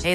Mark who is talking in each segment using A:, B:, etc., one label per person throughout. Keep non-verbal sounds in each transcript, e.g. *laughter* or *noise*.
A: Hey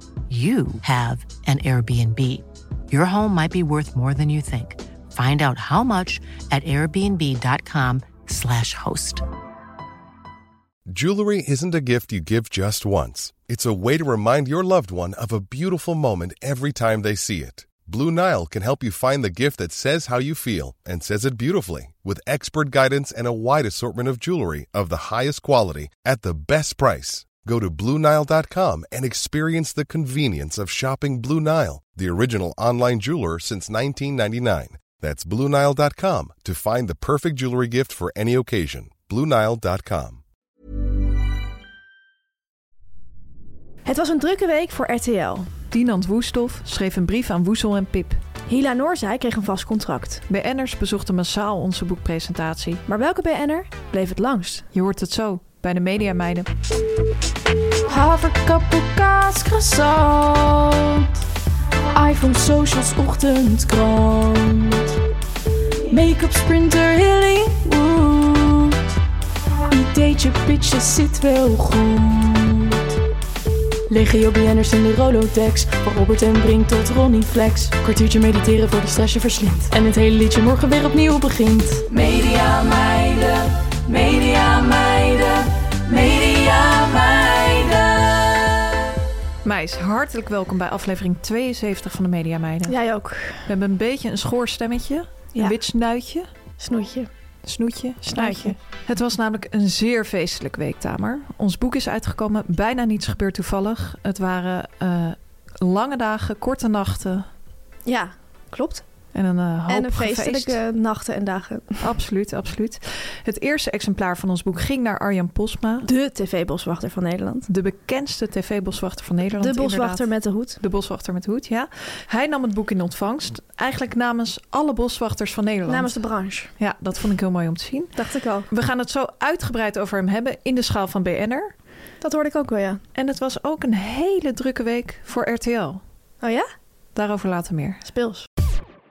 A: you have an Airbnb. Your home might be worth more than you think. Find out how much at airbnb.com/slash host.
B: Jewelry isn't a gift you give just once, it's a way to remind your loved one of a beautiful moment every time they see it. Blue Nile can help you find the gift that says how you feel and says it beautifully with expert guidance and a wide assortment of jewelry of the highest quality at the best price. Go to BlueNile.com and experience the convenience of shopping Blue Nile, the original online jeweler since 1999. That's BlueNile.com to find the perfect jewelry gift for any occasion. BlueNile.com.
C: Het was een drukke week voor RTL.
D: Dinant Woestoff schreef een brief aan Woesel en Pip.
C: Hila Noorzij kreeg een vast contract.
D: BN'ers bezochten massaal onze boekpresentatie.
C: Maar welke BN'er bleef het langst?
D: Je hoort het zo bij de Mediameiden.
E: Haverkappel, kaas, croissant. iPhone, socials, ochtendkrant. Make-up, sprinter, Hollywood. Ideetje, pitjes, zit wel goed. Legio BN'ers in de Rolodex. Van Robert en Brink tot Ronnie Flex. Kwartiertje mediteren voor de stress je verslindt. En het hele liedje morgen weer opnieuw begint. Media meiden, media meiden, media meiden.
D: Meis, hartelijk welkom bij aflevering 72 van de Mediameiden.
C: Jij ook.
D: We hebben een beetje een schoorstemmetje,
C: Ja.
D: een wit snuitje,
C: Snoetje.
D: snoetje, snuitje. Het was namelijk een zeer feestelijk week, Tamer. Ons boek is uitgekomen, bijna niets gebeurt toevallig. Het waren eh, lange dagen, korte nachten
C: Ja, klopt.
D: en een eh, hoop
C: en een
D: gefeest.
C: feestelijke nachten en dagen.
D: Absoluut, absoluut. Het eerste exemplaar van ons boek ging naar Arjan Posma.
C: De tv-boswachter van Nederland.
D: De bekendste tv-boswachter van Nederland.
C: De boswachter
D: inderdaad.
C: met de hoed.
D: De boswachter met hoed, ja. Hij nam het boek in ontvangst. Eigenlijk namens alle boswachters van Nederland.
C: Namens de branche.
D: Ja, dat vond ik heel mooi om te zien.
C: Dacht ik al.
D: We gaan het zo uitgebreid over hem hebben in de schaal van BNR.
C: Dat hoorde ik ook wel, ja.
D: En het was ook een hele drukke week voor RTL.
C: Oh ja?
D: Daarover later meer.
C: Speels.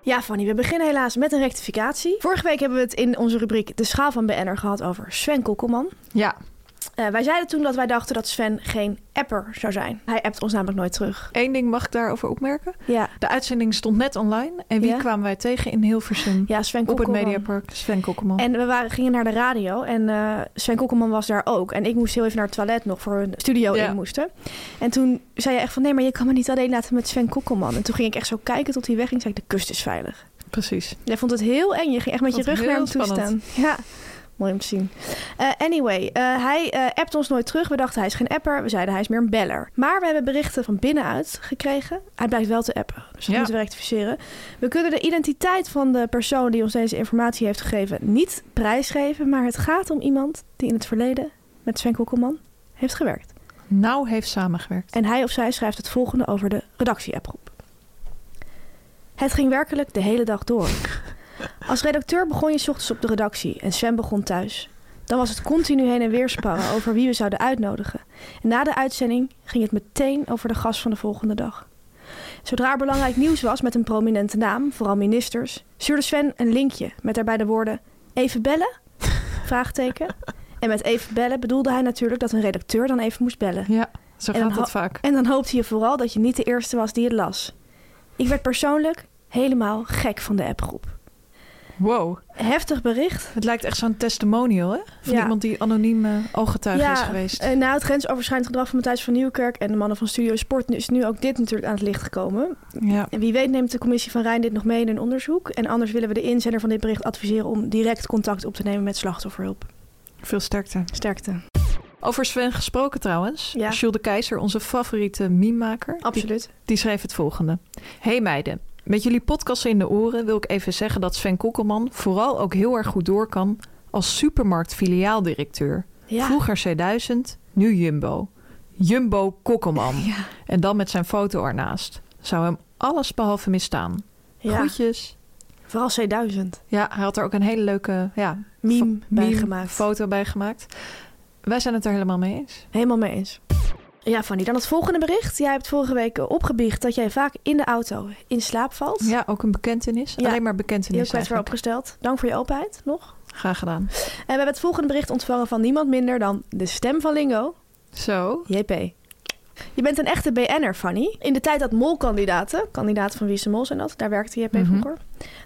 C: Ja, Fanny, we beginnen helaas met een rectificatie. Vorige week hebben we het in onze rubriek De Schaal van BN'er gehad over Sven Kokkelman.
D: Ja,
C: Eh, wij zeiden toen dat wij dachten dat Sven geen apper zou zijn. Hij appt ons namelijk nooit terug.
D: één ding mag ik daarover opmerken.
C: Ja,
D: De uitzending stond net online. En wie
C: Ja?
D: kwamen wij tegen in Hilversum?
C: ja Sven
D: Op het
C: Kokkelman.
D: Mediapark. Sven Kokkelman.
C: En we waren, gingen naar de radio en eh, Sven Kokkelman was daar ook. En ik moest heel even naar het toilet nog voor een studio
D: Ja.
C: in moesten. En toen zei je echt van nee, maar je kan me niet alleen laten met Sven Kokkelman. En toen ging ik echt zo kijken tot hij wegging. Zei ik, de kust is veilig.
D: Precies.
C: Jij vond het heel eng. Je ging echt met
D: Vond
C: je rug
D: het
C: naar hem
D: heel
C: toe staan.
D: spannend.
C: Ja, mooi om te zien. Eh, anyway, eh, hij eh appt ons nooit terug. We dachten hij is geen apper. We zeiden hij is meer een beller. Maar we hebben berichten van binnenuit gekregen. Hij blijkt wel te appen. Dus dat
D: Ja.
C: moeten we rectificeren. We kunnen de identiteit van de persoon die ons deze informatie heeft gegeven niet prijsgeven. Maar het gaat om iemand die in het verleden met Sven Kokkelman heeft gewerkt.
D: Nou heeft samengewerkt.
C: En hij of zij schrijft het volgende over de redactie-appgroep. Het ging werkelijk de hele dag door. Als redacteur begon je 's ochtends op de redactie en Sven begon thuis. Dan was het continu heen en weer sparren over wie we zouden uitnodigen. En na de uitzending ging het meteen over de gast van de volgende dag. Zodra er belangrijk nieuws was met een prominente naam, vooral ministers, stuurde Sven een linkje met daarbij de woorden: Even bellen? *laughs* Vraagteken. En met even bellen bedoelde hij natuurlijk dat een redacteur dan even moest bellen.
D: Ja, zo
C: En
D: gaat
C: ho-
D: dat vaak.
C: En dan hoopte je vooral dat je niet de eerste was die het las. Ik werd persoonlijk helemaal gek van de appgroep.
D: Wow.
C: Heftig bericht.
D: Het lijkt echt zo'n testimonial, hè? Van
C: Ja.
D: iemand die anoniem eh, ooggetuige is geweest.
C: eh, na het grensoverschrijdend gedrag van Matthijs van Nieuwkerk en de mannen van Studio Sport nu is nu ook dit natuurlijk aan het licht gekomen.
D: ja.
C: En wie weet neemt de commissie van Rijn dit nog mee in een onderzoek. En anders willen we de inzender van dit bericht adviseren om direct contact op te nemen met slachtofferhulp.
D: Veel sterkte.
C: Sterkte.
D: Over Sven gesproken trouwens.
C: Ja.
D: Jules de Keizer, onze favoriete meme-maker. Die,
C: Absoluut.
D: die schreef het volgende. Hey meiden, met jullie podcast in de oren wil ik even zeggen dat Sven Kokkelman vooral ook heel erg goed door kan als supermarktfiliaaldirecteur.
C: Ja.
D: Vroeger C1000, nu Jumbo. Jumbo Kokkelman.
C: Ja.
D: En dan met zijn foto ernaast. zou hem alles behalve misstaan.
C: Ja,
D: Groetjes.
C: vooral C1000.
D: Ja, hij had er ook een hele leuke ja,
C: Meme
D: fo-
C: bijgemaakt.
D: foto bij gemaakt. Wij zijn het er helemaal mee eens.
C: Helemaal mee eens. Ja, Fanny, dan het volgende bericht. Jij hebt vorige week eh, opgebiecht dat jij vaak in de auto in slaap valt.
D: Ja, ook een bekentenis.
C: Ja.
D: Alleen maar
C: Heel
D: bekentenis
C: kwetsbaar
D: eigenlijk.
C: opgesteld. Dank voor je openheid nog.
D: Graag gedaan.
C: En we hebben het volgende bericht ontvangen van niemand minder dan de stem van Lingo,
D: Zo.
C: JP. Je bent een echte BN'er, Fanny. In de tijd dat molkandidaten, kandidaat van Wie is de Mol zijn dat, daar werkte JP
D: Mhm.
C: vroeger,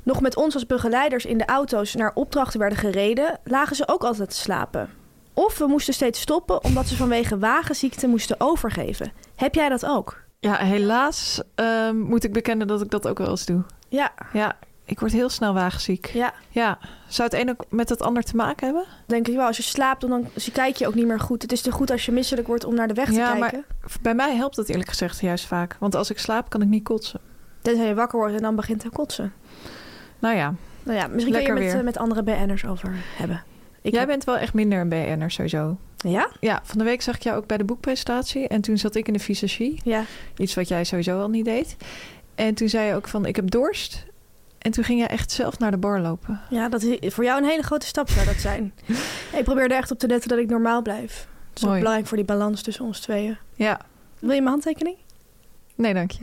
C: nog met ons als begeleiders in de auto's naar opdrachten werden gereden, lagen ze ook altijd te slapen. Of we moesten steeds stoppen omdat ze vanwege wagenziekte moesten overgeven. Heb jij dat ook?
D: Ja, helaas ehm, moet ik bekennen dat ik dat ook wel eens doe.
C: Ja,
D: Ja, ik word heel snel waagziek.
C: ja.
D: Ja, zou het een ook met het ander te maken hebben?
C: Denk ik wel. Als je slaapt, dan, dan zie- kijk je ook niet meer goed. Het is te goed als je misselijk wordt om naar de weg te
D: Ja, maar-
C: kijken.
D: Bij mij helpt dat eerlijk gezegd juist vaak. Want als ik slaap, kan ik niet kotsen.
C: Tenzij je wakker wordt en dan begint te kotsen.
D: Nou ja,
C: Nou ja, misschien
D: Lekker
C: kun je het
D: weer.
C: met, eh, met andere BN'ers over hebben. Ik
D: jij
C: heb-
D: bent wel echt minder een BN'er sowieso.
C: Ja?
D: Ja, van de week zag ik jou ook bij de boekpresentatie. En toen zat ik in de visagie.
C: Ja.
D: Iets wat jij sowieso al niet deed. En toen zei je ook van, ik heb dorst. En toen ging jij echt zelf naar de bar lopen.
C: ja, dat is voor jou een hele grote stap zou dat
D: *laughs*
C: zijn. ik probeer er echt op te letten dat ik normaal blijf. Dat is ook
D: Mooi.
C: belangrijk voor die balans tussen ons tweeën.
D: Ja,
C: Wil je mijn handtekening?
D: nee dank je.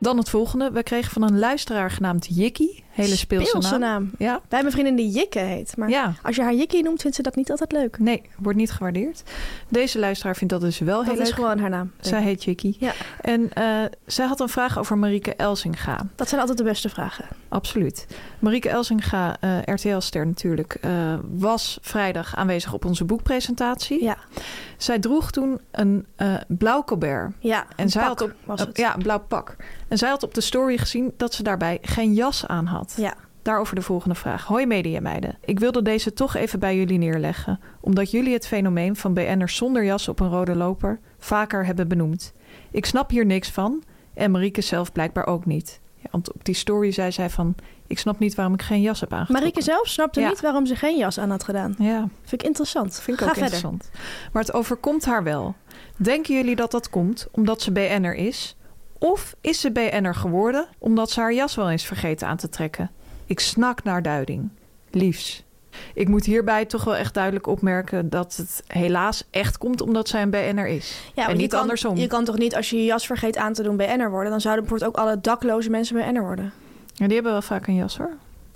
D: Dan het volgende. We kregen van een luisteraar genaamd Jikkie. Hele speelse, naam. Ja,
C: Wij hebben een vriendin die Jikke heet. Maar
D: ja.
C: als je haar Jikkie noemt, vindt ze dat niet altijd leuk.
D: Nee, wordt niet gewaardeerd. Deze luisteraar vindt dat dus wel
C: Dat
D: heel
C: is
D: leuk.
C: gewoon haar naam.
D: Zij heet Jikkie.
C: Ja.
D: En eh, zij had een vraag over Marieke Elsinga.
C: Dat zijn altijd de beste vragen.
D: Absoluut. Marieke Elsinga, eh, RTL-ster natuurlijk, eh, was vrijdag aanwezig op onze boekpresentatie.
C: Ja.
D: Zij droeg toen een eh, blauw colbert.
C: Ja,
D: En zij
C: pak
D: had op,
C: was het.
D: ja, een blauw pak. En zij had op de story gezien dat ze daarbij geen jas aan had.
C: Ja.
D: Daarover de volgende vraag. Hoi mediameiden. Ik wilde deze toch even bij jullie neerleggen. Omdat jullie het fenomeen van BN'ers zonder jas op een rode loper vaker hebben benoemd. Ik snap hier niks van. En Marieke zelf blijkbaar ook niet. Ja, want op die story zei zij van... Ik snap niet waarom ik geen jas heb aangetrokken.
C: Marieke zelf snapte
D: Ja.
C: niet waarom ze geen jas aan had gedaan.
D: Ja.
C: Vind ik interessant.
D: Vind ik
C: Ga
D: ook
C: verder.
D: interessant. Maar het overkomt haar wel. Denken jullie dat dat komt omdat ze BN'er is? Of is ze BN'er geworden omdat ze haar jas wel eens vergeten aan te trekken? Ik snak naar duiding. Liefs. Ik moet hierbij toch wel echt duidelijk opmerken dat het helaas echt komt omdat zij een BN'er is.
C: Ja,
D: en
C: want je
D: niet
C: kan-
D: andersom.
C: Je kan toch niet als je je jas vergeet aan te doen bij Enner worden, dan zouden bijvoorbeeld ook alle dakloze mensen bij Enner worden.
D: Ja, die hebben wel vaak een jas hoor.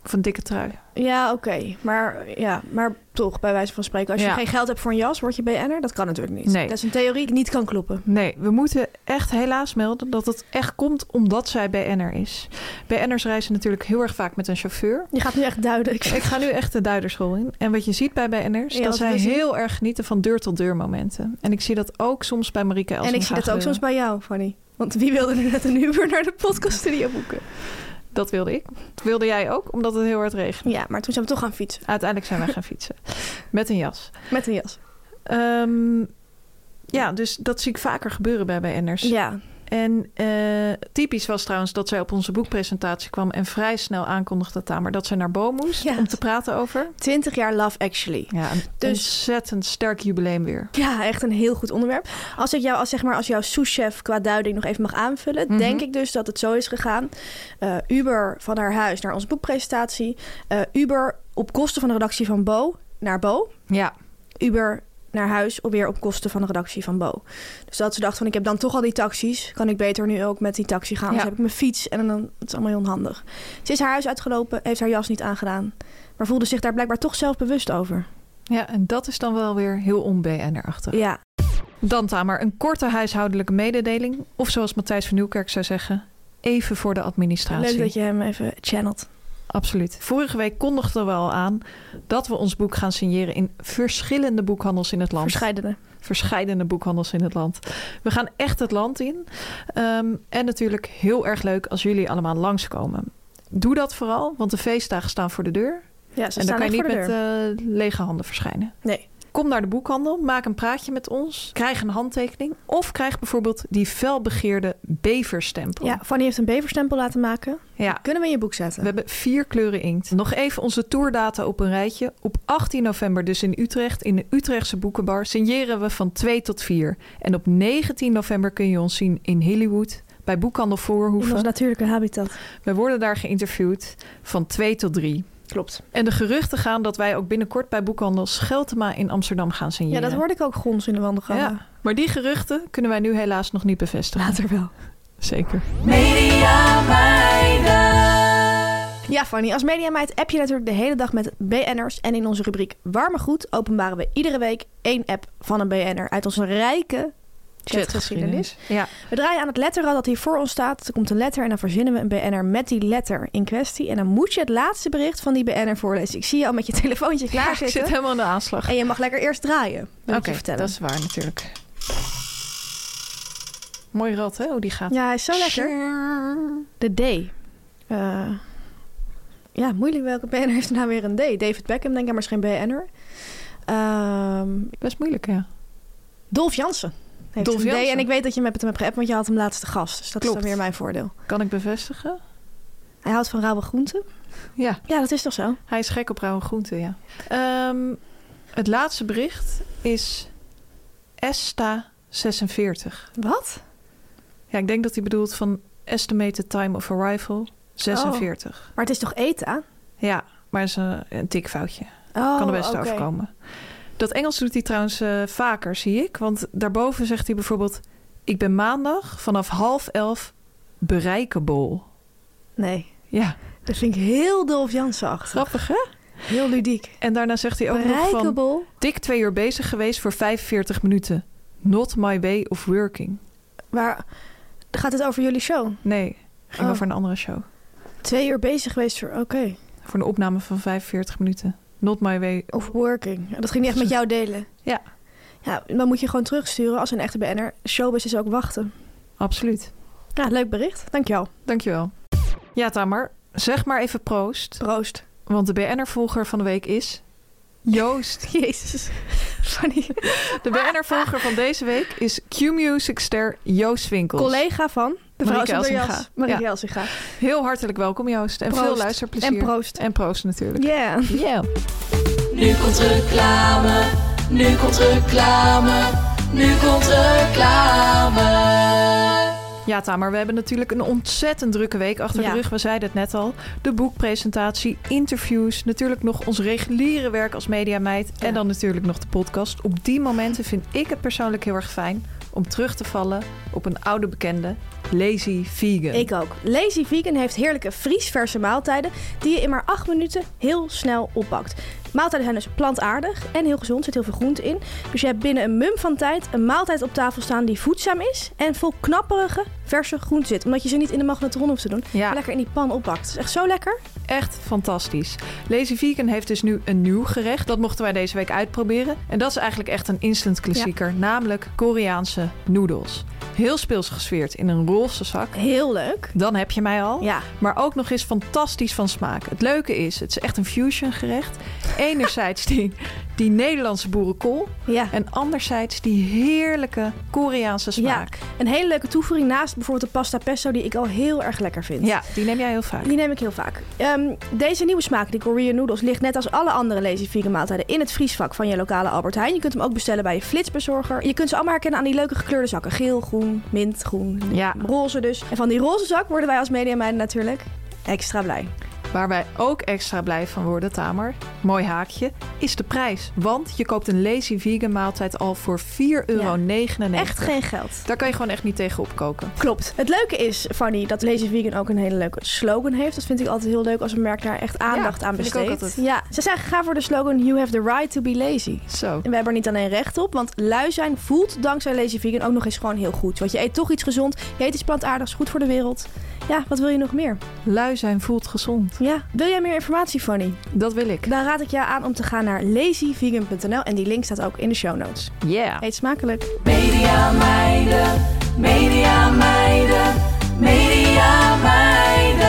D: Of een dikke trui.
C: Ja, oké. Maar, ja, maar toch, bij wijze van spreken. Als je
D: Ja.
C: geen geld hebt voor een jas, word je BN'er? Dat kan natuurlijk niet.
D: Nee.
C: Dat is een theorie die niet kan kloppen.
D: Nee, we moeten echt helaas melden dat het echt komt omdat zij BN'er is. BN'ers reizen natuurlijk heel erg vaak met een chauffeur.
C: Je gaat nu echt duiden. Ik
D: *laughs* Ik ga nu echt de duiderschool in. En wat je ziet bij BN'ers,
C: Ja,
D: dat
C: wat
D: zij
C: we zien.
D: heel erg genieten van deur-tot-deur momenten. En ik zie dat ook soms bij Marieke Elsinga
C: en ik zie dat ook
D: gebeuren.
C: soms bij jou, Fanny. Want wie wilde nu net een Uber naar de podcaststudio boeken?
D: Dat wilde ik. Dat wilde jij ook, omdat het heel hard regent.
C: Ja, maar toen zijn we toch gaan fietsen.
D: Uiteindelijk zijn wij gaan fietsen. Met een jas.
C: Met een jas.
D: Ehm, ja, dus dat zie ik vaker gebeuren bij BN'ers.
C: Ja,
D: En eh, typisch was trouwens dat zij op onze boekpresentatie kwam... en vrij snel aankondigde Tamer dat zij naar Bo moest
C: Ja.
D: om te praten over.
C: 20 jaar Love Actually.
D: Ja, een
C: Dus-
D: ontzettend sterk jubileum weer.
C: Ja, echt een heel goed onderwerp. Als ik jou als, zeg maar, als jouw souschef qua duiding nog even mag aanvullen,
D: Mhm.
C: denk ik dus dat het zo is gegaan. Eh, Uber van haar huis naar onze boekpresentatie. Eh, Uber op kosten van de redactie van Bo naar Bo.
D: Ja,
C: Uber naar huis op- weer op kosten van de redactie van Bo. Dus dat ze dacht van ik heb dan toch al die taxis. Kan ik beter nu ook met die taxi gaan?
D: Ja.
C: Dan heb ik mijn fiets en dan het is allemaal heel onhandig. Ze is haar huis uitgelopen, heeft haar jas niet aangedaan. Maar voelde zich daar blijkbaar toch zelf bewust over.
D: ja en dat is dan wel weer heel on-BN'er-achtig.
C: Ja,
D: Dan Tamer, een korte huishoudelijke mededeling. Of zoals Matthijs van Nieuwkerk zou zeggen, even voor de administratie.
C: leuk dat je hem even channelt.
D: Absoluut. Vorige week kondigden we al aan dat we ons boek gaan signeren in verschillende boekhandels in het land.
C: Verscheidene.
D: Verscheidene boekhandels in het land. We gaan echt het land in. Ehm, en natuurlijk heel erg leuk als jullie allemaal langskomen. Doe dat vooral, want de feestdagen staan voor de deur.
C: Ja, ze
D: en dan
C: staan
D: kan je
C: echt
D: niet
C: voor de
D: met
C: deur.
D: eh, lege handen verschijnen.
C: Nee.
D: Kom naar de boekhandel, maak een praatje met ons, krijg een handtekening of krijg bijvoorbeeld die felbegeerde beverstempel.
C: Ja, Fanny heeft een beverstempel laten maken.
D: Ja.
C: Kunnen we in je boek zetten?
D: We hebben vier kleuren inkt. Nog even onze tourdata op een rijtje. Op 18 november dus in Utrecht, in de Utrechtse Boekenbar, signeren we van 2 tot 4. En op 19 november kun je ons zien in Hollywood. bij Boekhandel
C: In ons
D: Voorhoeven.
C: natuurlijke habitat.
D: We worden daar geïnterviewd van twee tot drie.
C: Klopt.
D: En de geruchten gaan dat wij ook binnenkort bij Boekhandel Scheltema in Amsterdam gaan
C: Ja,
D: signeren.
C: dat hoorde ik ook gons in de wandelgangen.
D: Ja, maar die geruchten kunnen wij nu helaas nog niet bevestigen.
C: Later wel.
D: Zeker.
E: Media meiden.
C: Ja, Fanny, als mediameid app je natuurlijk de hele dag met BN'ers. En in onze rubriek Warme Goed openbaren we iedere week één app van een BN'er uit onze rijke chatgeschiedenis.
D: Ja.
C: We draaien aan het letterrad dat hier voor ons staat. Er komt een letter en dan verzinnen we een BN'er met die letter in kwestie. En dan moet je het laatste bericht van die BN'er voorlezen. Ik zie je al met je telefoontje
D: ja,
C: klaar
D: ik zit
C: zitten.
D: helemaal in de aanslag.
C: En je mag lekker eerst draaien, wil ik je vertellen.
D: dat is waar natuurlijk. Mooi rat, hè, hoe die gaat.
C: Ja, hij is zo lekker. De D. Eh, ja, moeilijk welke BN'er heeft er nou weer een D? David Beckham, denk ik, maar is geen BN'er. Ehm
D: Best moeilijk, ja.
C: Dolf Jansen heeft
D: Dolf
C: een D.
D: Jansen.
C: En ik weet dat je met hem hebt geappt, want je had hem laatste gast. Dus dat
D: Klopt.
C: is dan weer mijn voordeel.
D: Kan ik bevestigen?
C: Hij houdt van rauwe groenten.
D: Ja,
C: Ja, dat is toch zo?
D: hij is gek op rauwe groenten, ja. Ehm, het laatste bericht is Esta46.
C: Wat?
D: Ja, ik denk dat hij bedoelt van Estimated Time of Arrival 46.
C: Maar het is toch ETA?
D: Ja, maar dat is een, een tikfoutje.
C: Oh,
D: kan er best
C: oké.
D: overkomen. Dat Engels doet hij trouwens eh, vaker, zie ik. Want daarboven zegt hij bijvoorbeeld... Ik ben maandag vanaf half elf bereikable.
C: Nee,
D: Ja,
C: dat vind ik heel Dolf Jansen achter.
D: grappig hè?
C: Heel ludiek.
D: En daarna zegt hij ook nog van...
C: Bereikable.
D: Dik twee uur bezig geweest voor 45 minuten. Not my way of working.
C: Maar gaat het over jullie show?
D: Nee, ging
C: Oh.
D: over een andere show.
C: Twee uur bezig geweest voor... Oké.
D: Voor een opname van 45 minuten. Not my way.
C: Of working. Dat ging niet echt met jou delen.
D: Ja.
C: Ja, dan moet je gewoon terugsturen als een echte BN'er. Showbiz is ook wachten.
D: Absoluut.
C: Ja, leuk bericht. Dankjewel.
D: Dankjewel. Ja, Tamar. Zeg maar even proost. *laughs*
C: Proost.
D: Want de BN'er-volger van de week is... Joost.
C: Jezus. Funny.
D: De BN'er-volger van deze week is Q-Music-ster Joost Winkels.
C: collega van de vrouw
D: Marieke
C: zonder
D: Elsinga.
C: jas. Marieke
D: Ja.
C: Elsinga.
D: Heel hartelijk welkom, Joost. En
C: Proost.
D: veel luisterplezier.
C: En proost.
D: En proost natuurlijk.
C: Yeah.
D: Ja.
E: Nu komt reclame. Nu komt reclame. Nu komt reclame.
D: Ja, Tamer, we hebben natuurlijk een ontzettend drukke week achter
C: Ja.
D: de rug. We zeiden het net al. De boekpresentatie, interviews, natuurlijk nog ons reguliere werk als mediameid.
C: Ja.
D: En dan natuurlijk nog de podcast. Op die momenten vind ik het persoonlijk heel erg fijn om terug te vallen op een oude bekende, Lazy Vegan.
C: Ik ook. Lazy Vegan heeft heerlijke vriesverse maaltijden die je in maar 8 minuten heel snel oppakt. Maaltijden zijn dus plantaardig en heel gezond, er zit heel veel groente in. Dus je hebt binnen een mum van tijd een maaltijd op tafel staan die voedzaam is en vol knapperige verse groenten zit. Omdat je ze niet in de magnetron hoeft te doen, maar
D: Ja,
C: lekker in die pan oppakt. Het is echt zo lekker.
D: echt fantastisch. Lazy Vegan heeft dus nu een nieuw gerecht. Dat mochten wij deze week uitproberen. En dat is eigenlijk echt een instant klassieker. Namelijk Koreaanse noedels. Heel speels gesfeerd in een roze zak.
C: Heel leuk.
D: Dan heb je mij al.
C: Ja,
D: Maar ook nog eens fantastisch van smaak. Het leuke is, het is echt een fusion gerecht. Enerzijds die, die Nederlandse boerenkool.
C: ja.
D: En anderzijds die heerlijke Koreaanse smaak.
C: Een hele leuke toevoeging naast bijvoorbeeld de pasta pesto die ik al heel erg lekker vind.
D: Ja, die neem jij heel vaak.
C: Die neem ik heel vaak. Ehm, deze nieuwe smaak, die Korean noodles, ligt net als alle andere lazy vegan maaltijden in het vriesvak van je lokale Albert Heijn. Je kunt hem ook bestellen bij je flitsbezorger. Je kunt ze allemaal herkennen aan die leuke gekleurde zakken. Geel, groen, mint, groen,
D: Ja.
C: roze dus. En van die roze zak worden wij als mediameiden natuurlijk extra blij.
D: Waar wij ook extra blij van worden, Tamer. Mooi haakje. Is de prijs. Want je koopt een lazy vegan maaltijd al voor 4,99 euro.
C: Echt geen geld.
D: Daar kan je gewoon echt niet tegen opkoken.
C: Klopt. Het leuke is, Fanny, dat Lazy Vegan ook een hele leuke slogan heeft. Dat vind ik altijd heel leuk als een merk daar echt aandacht
D: Ja,
C: aan
D: vind ik ook
C: besteedt.
D: altijd.
C: ja, ze zijn gegaan voor de slogan You have the right to be lazy.
D: Zo.
C: En we hebben er niet alleen recht op, want lui zijn voelt dankzij Lazy Vegan ook nog eens gewoon heel goed. Want je eet toch iets gezond, je eet iets plantaardigs, goed voor de wereld. Ja, wat wil je nog meer?
D: Lui zijn voelt gezond.
C: Ja, wil jij meer informatie, Fanny?
D: Dat wil ik.
C: Dan raad ik jou aan om te gaan naar lazyvegan.nl en die link staat ook in de show notes.
D: Yeah.
C: Eet smakelijk.
E: Media meiden. Media meiden. Media meiden.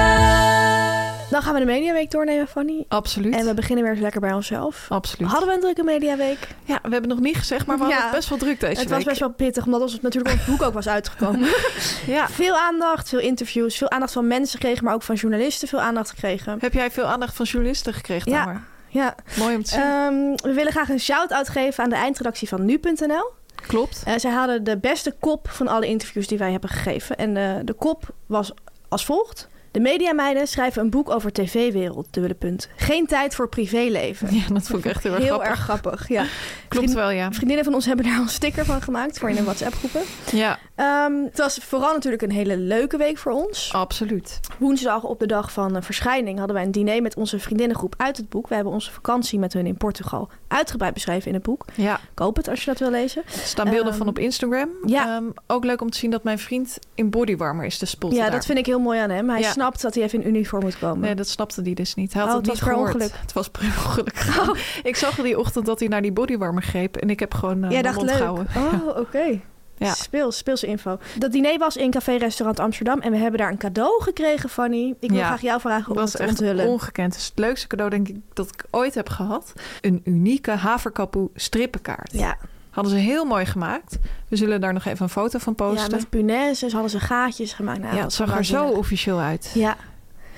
C: Dan gaan we de Mediaweek doornemen, Fanny.
D: Absoluut.
C: En we beginnen weer eens lekker bij onszelf.
D: Absoluut.
C: Hadden we een drukke Mediaweek?
D: Ja, we hebben het nog niet gezegd, maar we hadden
C: Ja.
D: het best wel druk deze
C: Het was
D: week.
C: best wel pittig, omdat ons natuurlijk ons boek ook was uitgekomen.
D: *laughs* Ja.
C: Veel aandacht, veel interviews, veel aandacht van mensen gekregen, maar ook van journalisten veel aandacht gekregen.
D: Heb jij veel aandacht van journalisten gekregen,
C: Ja. Eh,
D: Tamer?
C: Ja,
D: Mooi om te zien.
C: Ehm, we willen graag een shout-out geven aan de eindredactie van nu.nl.
D: Klopt. *laughs*
C: Eh, zij hadden de beste kop van alle interviews die wij hebben gegeven. En eh, de kop was als volgt. De mediameiden schrijven een boek over tv-wereld, dubbele punt. Geen tijd voor privéleven.
D: Ja, dat vond ik echt heel erg grappig.
C: erg grappig, ja.
D: *laughs* Klopt wel, ja.
C: Vriendinnen van ons hebben daar al een sticker van gemaakt voor in de WhatsApp-groepen.
D: Ja,
C: Ehm, het was vooral natuurlijk een hele leuke week voor
D: Oh.
C: ons.
D: absoluut.
C: Woensdag op de dag van eh, verschijning hadden wij een diner met onze vriendinnengroep uit het boek. We hebben onze vakantie met hun in Portugal uitgebreid beschreven in het boek.
D: Ja,
C: Koop het als je dat wil lezen.
D: er staan beelden
C: Ehm,
D: van op Instagram.
C: ja.
D: Ehm, ook leuk om te zien dat mijn vriend in bodywarmer is, de spot
C: Ja, dat vind ik heel mooi aan hem. Hij
D: Ja.
C: snapt dat hij even in uniform moet komen.
D: Nee, dat snapte die dus niet. Hij had
C: Oh,
D: het,
C: het
D: niet
C: was per
D: gehoord.
C: ongeluk. Oh.
D: Het was per *laughs* ongeluk. Ik zag die ochtend dat hij naar die bodywarmer greep. En ik heb gewoon eh
C: Jij
D: mijn
C: dacht
D: mond
C: leuk.
D: gehouden.
C: Oh, oké.
D: Ja.
C: Speel, speelse info. Dat diner was in Café Restaurant Amsterdam en we hebben daar een cadeau gekregen, Fanny. Ik wil
D: Ja.
C: graag jou vragen om
D: Dat was
C: het te
D: echt
C: onthullen.
D: ongekend. Het is het leukste cadeau denk ik dat ik ooit heb gehad. Een unieke haverkapoe strippenkaart.
C: Ja.
D: Hadden ze heel mooi gemaakt. We zullen daar nog even een foto van
C: ja,
D: posten.
C: met punaises hadden ze gaatjes gemaakt. Nou,
D: Ja,
C: wat
D: het zag er zo
C: waanzinnig.
D: officieel uit.
C: Ja,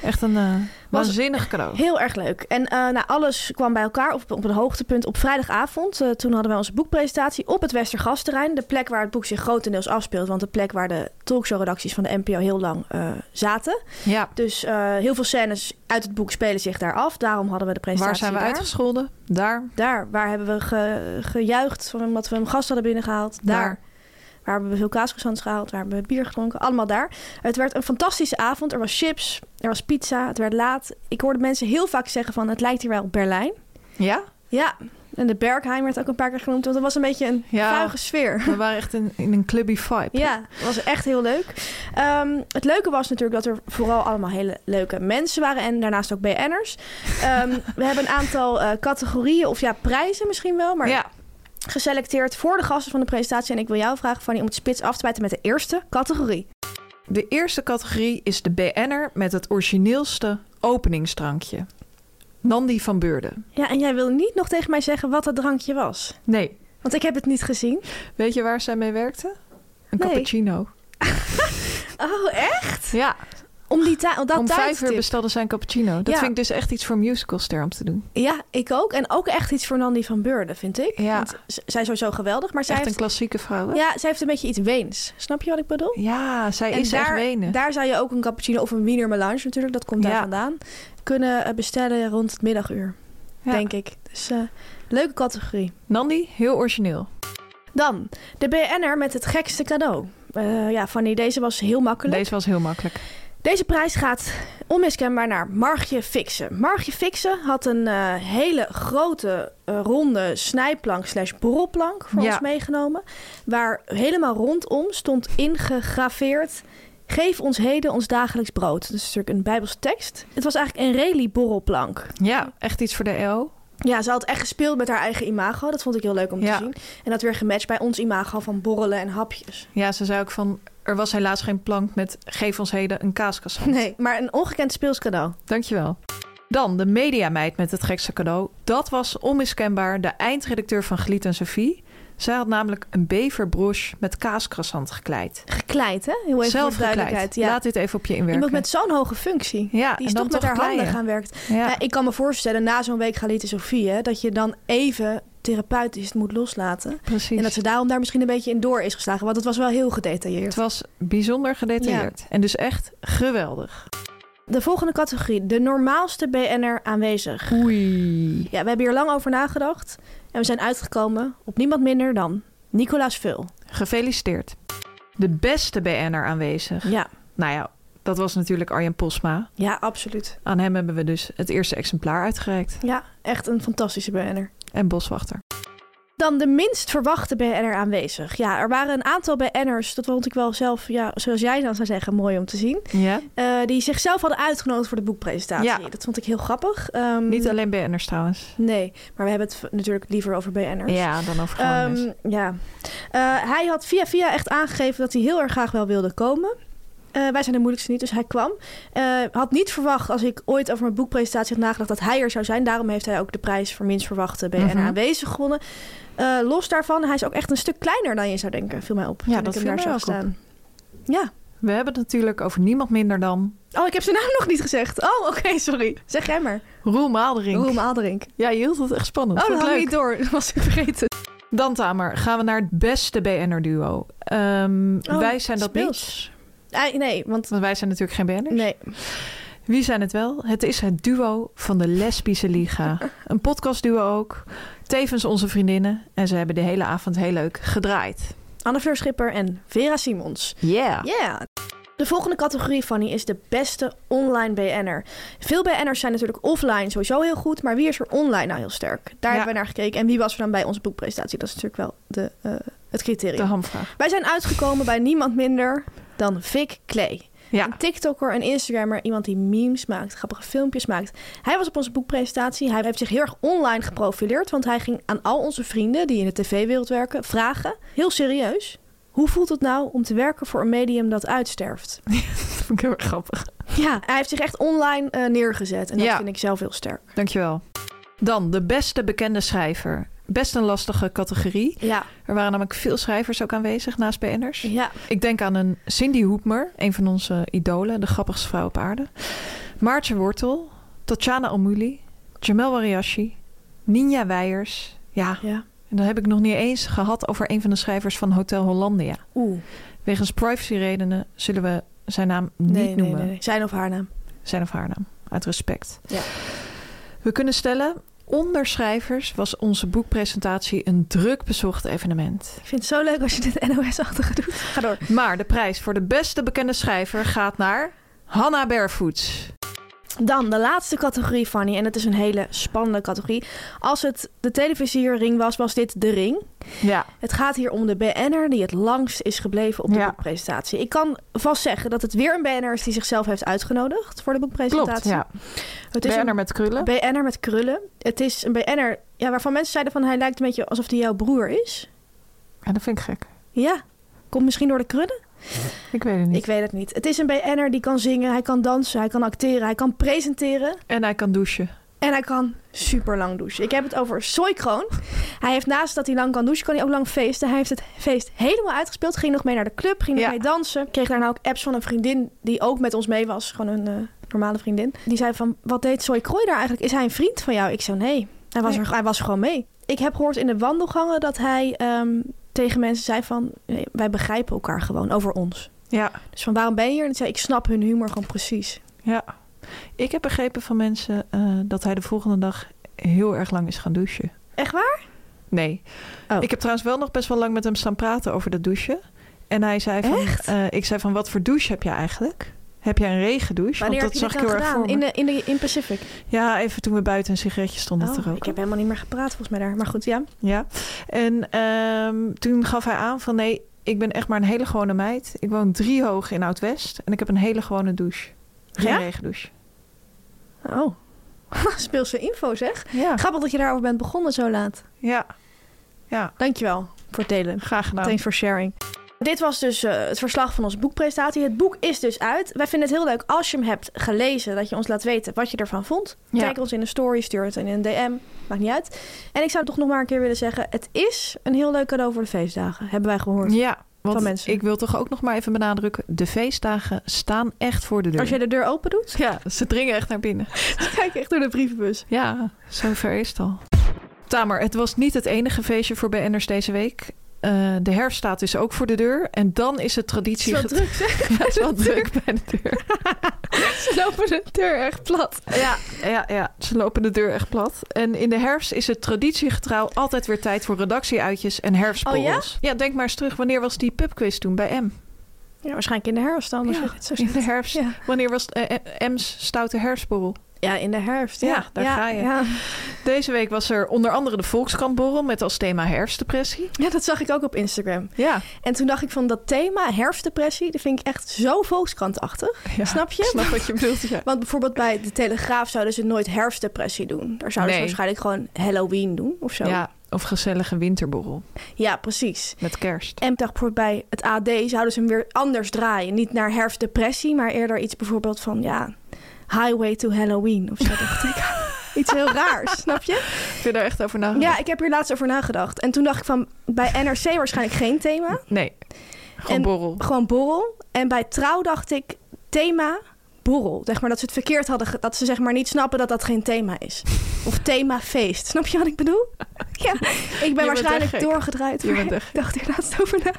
D: Echt een eh waanzinnig cadeau.
C: heel erg leuk. En eh, nou, alles kwam bij elkaar op, op een hoogtepunt op vrijdagavond. Eh, toen hadden wij onze boekpresentatie op het Westergasterrein. De plek waar het boek zich grotendeels afspeelt. Want de plek waar de talkshowredacties van de NPO heel lang eh, zaten.
D: Ja,
C: Dus eh, heel veel scènes uit het boek spelen zich daar af. Daarom hadden we de
D: waar
C: presentatie
D: zijn we
C: daar.
D: uitgescholden? Daar.
C: Daar, waar hebben we ge- gejuicht van omdat we hem gast hadden binnengehaald? Daar.
D: Daar.
C: Waar hebben we veel kaaskroissants gehaald? Waar hebben we bier gedronken? Allemaal daar. Het werd een fantastische avond. Er was chips, er was pizza, het werd laat. Ik hoorde mensen heel vaak zeggen van het lijkt hier wel op Berlijn.
D: Ja?
C: Ja, en de Bergheim werd ook een paar keer genoemd, want het was een beetje een
D: Ja.
C: vuige sfeer.
D: We waren echt in, in een clubby vibe.
C: *laughs* Ja, het was echt heel leuk. Ehm, het leuke was natuurlijk dat er vooral allemaal hele leuke mensen waren en daarnaast ook BN'ers. Ehm, we hebben een aantal eh, categorieën, of ja, prijzen misschien wel, maar
D: Ja,
C: geselecteerd voor de gasten van de presentatie. En ik wil jou vragen, Fanny, om het spits af te bijten met de eerste categorie.
D: de eerste categorie is de BN'er met het origineelste openingsdrankje. Nandi van Beurden.
C: Ja, en jij wil niet nog tegen mij zeggen wat dat drankje was.
D: Nee,
C: Want ik heb het niet gezien.
D: weet je waar zij mee werkte? Een
C: Nee.
D: cappuccino.
C: Oh, echt?
D: Ja,
C: Om die ta- dat
D: om vijf
C: tijdstip.
D: uur bestelde zij een cappuccino. Dat
C: Ja.
D: vind ik dus echt iets voor musicalster om te doen.
C: Ja, ik ook. En ook echt iets voor Nandi van Beurden, vind ik.
D: Ja.
C: Want z- zij is sowieso geweldig, maar zij
D: echt een
C: heeft,
D: klassieke vrouw. hè?
C: ja, zij heeft een beetje iets weens. Snap je wat ik bedoel?
D: Ja, zij
C: en
D: is echt
C: daar,
D: wenen.
C: daar zou je ook een cappuccino of een wiener melange natuurlijk, dat komt daar
D: Ja.
C: vandaan, kunnen eh, bestellen rond het middaguur,
D: Ja.
C: denk ik. Dus eh, leuke categorie.
D: Nandi, heel origineel.
C: Dan, de BN'er met het gekste cadeau. Eh, ja, Fanny, deze was heel makkelijk.
D: Deze was heel makkelijk.
C: Deze prijs gaat onmiskenbaar naar Margje Fixen. Margje Fixen had een eh, hele grote eh, ronde snijplank slash borrelplank voor
D: Ja.
C: ons meegenomen. Waar helemaal rondom stond ingegraveerd... Geef ons heden ons dagelijks brood. Dat is natuurlijk een Bijbelse tekst. Het was eigenlijk een reli borrelplank.
D: Ja, echt iets voor de EO.
C: Ja, ze had echt gespeeld met haar eigen imago. Dat vond ik heel leuk om
D: Ja.
C: te zien. En dat weer gematcht bij ons imago van borrelen en hapjes.
D: Ja, ze zei ook van... Er was helaas geen plank met geef ons heden een kaaskassant.
C: *laughs* Nee, maar een ongekend speels cadeau.
D: Dankjewel. Dan de mediameid met het gekste cadeau. Dat was onmiskenbaar de eindredacteur van Gliet en Sophie. Zij had namelijk een beverbroche met kaascroissant gekleid.
C: Gekleid, hè? Heel even
D: Zelf
C: voor de duidelijkheid.
D: gekleid.
C: Ja.
D: Laat dit even op je inwerken.
C: Iemand met zo'n hoge functie.
D: Ja,
C: die
D: en
C: is toch met
D: dan toch
C: haar handen
D: kleien.
C: gaan werkt.
D: Ja.
C: Ja, ik kan me voorstellen, na zo'n week Galite Sofie, hè, dat je dan even therapeutisch het moet loslaten.
D: Precies.
C: En dat ze daarom daar misschien een beetje in door is geslagen. Want het was wel heel gedetailleerd.
D: Het was bijzonder gedetailleerd. En dus echt geweldig.
C: De volgende categorie, de normaalste BN'er aanwezig.
D: Oei.
C: Ja, we hebben hier lang over nagedacht. En we zijn uitgekomen op niemand minder dan Nicolaas Vul.
D: Gefeliciteerd. De beste BN'er aanwezig.
C: Ja,
D: Nou ja, dat was natuurlijk Arjen Posma.
C: ja, absoluut.
D: Aan hem hebben we dus het eerste exemplaar uitgereikt.
C: Ja, echt een fantastische BN'er.
D: En Boswachter.
C: Dan de minst verwachte BN'er aanwezig. Ja, er waren een aantal BN'ers, dat vond ik wel zelf, ja, zoals jij dan zou zeggen, mooi om te zien.
D: Ja.
C: eh, die zichzelf hadden uitgenodigd voor de boekpresentatie.
D: Ja.
C: Dat vond ik heel grappig. Ehm,
D: Niet alleen BN'ers trouwens.
C: Nee, maar we hebben het v- natuurlijk liever over BN'ers.
D: Ja, dan over gewoon
C: Ehm,
D: mensen.
C: ja. Eh, hij had via via echt aangegeven dat hij heel erg graag wel wilde komen. Eh, wij zijn de moeilijkste niet, dus hij kwam. Eh, had niet verwacht, als ik ooit over mijn boekpresentatie had nagedacht, dat hij er zou zijn. Daarom heeft hij ook de prijs voor minst verwachte BNR
D: Mhm.
C: aanwezig gewonnen. Eh, los daarvan, hij is ook echt een stuk kleiner dan je zou denken, viel mij op. toen
D: dat
C: ik
D: viel
C: hem daar zag
D: mij ook
C: staan. Ja.
D: We hebben het natuurlijk over niemand minder dan
C: Oh, ik heb zijn naam nog niet gezegd. Oh, oké, sorry. Zeg jij maar.
D: Roel Maalderink.
C: Roem Alderink.
D: Ja, je hield het echt spannend.
C: Oh, *laughs* dat
D: Vond ik
C: had ik
D: leuk.
C: niet door. Dat was ik vergeten.
D: Dan Tamer, gaan we naar het beste BN'er-duo. Ehm,
C: Oh,
D: wij zijn dat
C: speels.
D: niet,
C: Ah, nee, want...
D: want wij zijn natuurlijk geen BN'ers.
C: Nee.
D: Wie zijn het wel? Het is het duo van de Lesbische Liga.
C: *laughs*
D: Een podcastduo ook. Tevens onze vriendinnen. En ze hebben de hele avond heel leuk gedraaid.
C: Anne Verschipper en Vera Simons.
D: Yeah.
C: Ja. De volgende categorie, Fanny, is de beste online BN'er. Veel BN'ers zijn natuurlijk offline sowieso heel goed, maar wie is er online nou heel sterk? Daar hebben we naar gekeken. En wie was er dan bij onze boekpresentatie? Dat is natuurlijk wel de, eh, het
D: De
C: criterium.
D: hamvraag.
C: Wij zijn uitgekomen bij niemand minder dan Vic Clay.
D: Ja. *laughs*
C: Een TikToker, een Instagrammer, iemand die memes maakt, grappige filmpjes maakt. Hij was op onze boekpresentatie. Hij heeft zich heel erg online geprofileerd, want hij ging aan al onze vrienden die in de tv-wereld werken vragen, heel serieus, hoe voelt het nou om te werken voor een medium dat uitsterft?
D: Dat vond ik heel erg grappig.
C: *laughs* Ja, hij heeft zich echt online eh, neergezet en dat
D: Ja.
C: vind ik zelf heel sterk.
D: Dankjewel. Dan de beste bekende schrijver. Best een lastige categorie.
C: Ja,
D: Er waren namelijk veel schrijvers ook aanwezig naast BN'ers.
C: ja.
D: Ik denk aan een Cindy Hoepmer, een van onze idolen, de grappigste vrouw op aarde. Maartje Wortel, Tatjana Almuli, Jamel Wariashi, Ninja Weijers. Ja,
C: ja.
D: en dan heb ik nog niet eens gehad over een van de schrijvers van Hotel Hollandia.
C: Oeh,
D: Wegens privacyredenen zullen we zijn naam niet
C: nee, nee,
D: noemen.
C: nee, nee. Zijn of haar naam.
D: Zijn of haar naam, uit respect.
C: Ja.
D: We kunnen stellen, onder schrijvers was onze boekpresentatie een druk bezocht evenement.
C: Ik vind het zo leuk als je dit NOS-achtige doet. Ga door.
D: Maar de prijs voor de beste bekende schrijver gaat naar Hanna Barefoots.
C: Dan de laatste categorie, Fanny. En het is een hele spannende categorie. Als het de televisierring was, was dit de ring.
D: Ja.
C: Het gaat hier om de BN'er die het langst is gebleven op de
D: Ja.
C: boekpresentatie. Ik kan vast zeggen dat het weer een BN'er is die zichzelf heeft uitgenodigd voor de boekpresentatie.
D: Klopt, ja.
C: Het is
D: Werner
C: een
D: met krullen.
C: BN'er met krullen. Het is een BN'er ja, waarvan mensen zeiden van hij lijkt een beetje alsof hij jouw broer is.
D: Ja, dat vind ik gek.
C: Ja, komt misschien door de krullen.
D: Ik weet het niet.
C: Ik weet het niet. Het is een BN'er die kan zingen, hij kan dansen, hij kan acteren, hij kan presenteren.
D: En hij kan douchen.
C: En hij kan super lang douchen. Ik heb het over Soy Kroon. Hij heeft naast dat hij lang kan douchen, kan hij ook lang feesten. Hij heeft het feest helemaal uitgespeeld. Ging nog mee naar de club, ging nog
D: Ja.
C: mee dansen. Kreeg daarna ook apps van een vriendin die ook met ons mee was. Gewoon een eh, normale vriendin. Die zei van, wat deed Soy Kroon daar eigenlijk? Is hij een vriend van jou? Ik zei, nee. Hij was, er, hij was gewoon mee. Ik heb gehoord in de wandelgangen dat hij ehm, tegen mensen zei van... "Nee, wij begrijpen elkaar gewoon over ons.
D: Ja.
C: Dus van, waarom ben je hier? En ik zei, ik snap hun humor gewoon precies.
D: ja. Ik heb begrepen van mensen eh, dat hij de volgende dag heel erg lang is gaan douchen.
C: Echt waar?
D: Nee.
C: Oh.
D: Ik heb trouwens wel nog best wel lang met hem staan praten over dat douchen. En hij zei van... eh, ik zei van, wat voor douche heb je eigenlijk? Heb jij een regendouche?
C: Wanneer
D: Want
C: heb
D: dat
C: je dit
D: zag ik
C: dan
D: heel erg
C: gedaan?
D: voor me.
C: In, de, in, de, in Pacific?
D: Ja, even toen we buiten een sigaretje stonden te
C: Oh,
D: roken.
C: Ik heb helemaal niet meer gepraat volgens mij daar. Maar goed, ja.
D: Ja, en ehm, toen gaf hij aan van nee, ik ben echt maar een hele gewone meid. Ik woon drie hoog in Oud-West en ik heb een hele gewone douche. Geen
C: Ja?
D: regendouche.
C: Oh. *laughs* Ah. Speelse info zeg.
D: Ja.
C: Grappig dat je daarover bent begonnen zo laat.
D: ja,
C: Dankjewel voor het delen.
D: graag gedaan.
C: Thanks for sharing. Dit was dus eh, het verslag van onze boekpresentatie. Het boek is dus uit. Wij vinden het heel leuk als je hem hebt gelezen, dat je ons laat weten wat je ervan vond.
D: Ja.
C: Kijk ons in een story, stuur het in een DM. Maakt niet uit. En ik zou toch nog maar een keer willen zeggen: het is een heel leuk cadeau voor de feestdagen. Hebben wij gehoord.
D: Ja, want
C: Van mensen.
D: ik wil toch ook nog maar even benadrukken, de feestdagen staan echt voor de deur.
C: Als jij de deur open doet, *laughs*
D: Ja, ze dringen echt naar binnen.
C: kijk echt door de brievenbus.
D: Ja, zover is het al. Tamer, het was niet het enige feestje voor BN'ers deze week. Eh, de herfststaat is ook voor de deur. En dan is het
C: Het
D: traditie...
C: is wel
D: get-
C: druk, zeg.
D: Ja,
C: *laughs*
D: het is *laughs* wel druk bij de deur.
C: Ze lopen de deur echt plat.
D: Ja, ja, ja, ze lopen de deur echt plat. En in de herfst is het traditiegetrouw altijd weer tijd voor redactieuitjes en herfstborrels.
C: Oh
D: ja? denk maar eens terug. Wanneer was die pubquiz toen bij M?
C: Ja, waarschijnlijk in de herfst dan. als
D: Ja,
C: je dit zo
D: In de
C: zegt.
D: herfst.
C: Ja.
D: Wanneer was eh, eh, M's stoute herfstborrel?
C: Ja, in de herfst. Ja,
D: Ja, daar ga je.
C: Ja.
D: Deze week was er onder andere de Volkskrantborrel met als thema herfstdepressie.
C: Ja, dat zag ik ook op Instagram.
D: Ja,
C: En toen dacht ik van dat thema herfstdepressie, dat vind ik echt zo volkskrantachtig. Snap je?
D: Snap wat je bedoelt. Ja.
C: Want bijvoorbeeld bij de Telegraaf zouden ze nooit herfstdepressie doen. Daar zouden
D: Nee.
C: ze waarschijnlijk gewoon Halloween doen of zo.
D: *laughs* ja, of gezellige winterborrel
C: Ja, precies.
D: met kerst.
C: En ik dacht bijvoorbeeld bij het AD zouden ze hem weer anders draaien. Niet naar herfstdepressie, maar eerder iets bijvoorbeeld van ja, Highway to Halloween of zo dacht ik.
D: *laughs*
C: Iets heel raars, snap je?
D: Heb je daar echt over nagedacht?
C: Ja, ik heb hier laatst over nagedacht. En toen dacht ik van, bij NRC waarschijnlijk geen thema.
D: Nee, gewoon
C: En-
D: borrel.
C: Gewoon borrel. En bij trouw dacht ik, thema borrel. Zeg maar, dat ze het verkeerd hadden, ge- dat ze zeg maar niet snappen dat dat geen thema is. Of themafeest. Snap je wat ik bedoel? *laughs* Ja, ik ben
D: echt
C: waarschijnlijk
D: gek.
C: doorgedraaid.
D: Je
C: maar
D: bent echt
C: ik dacht er laatst over na.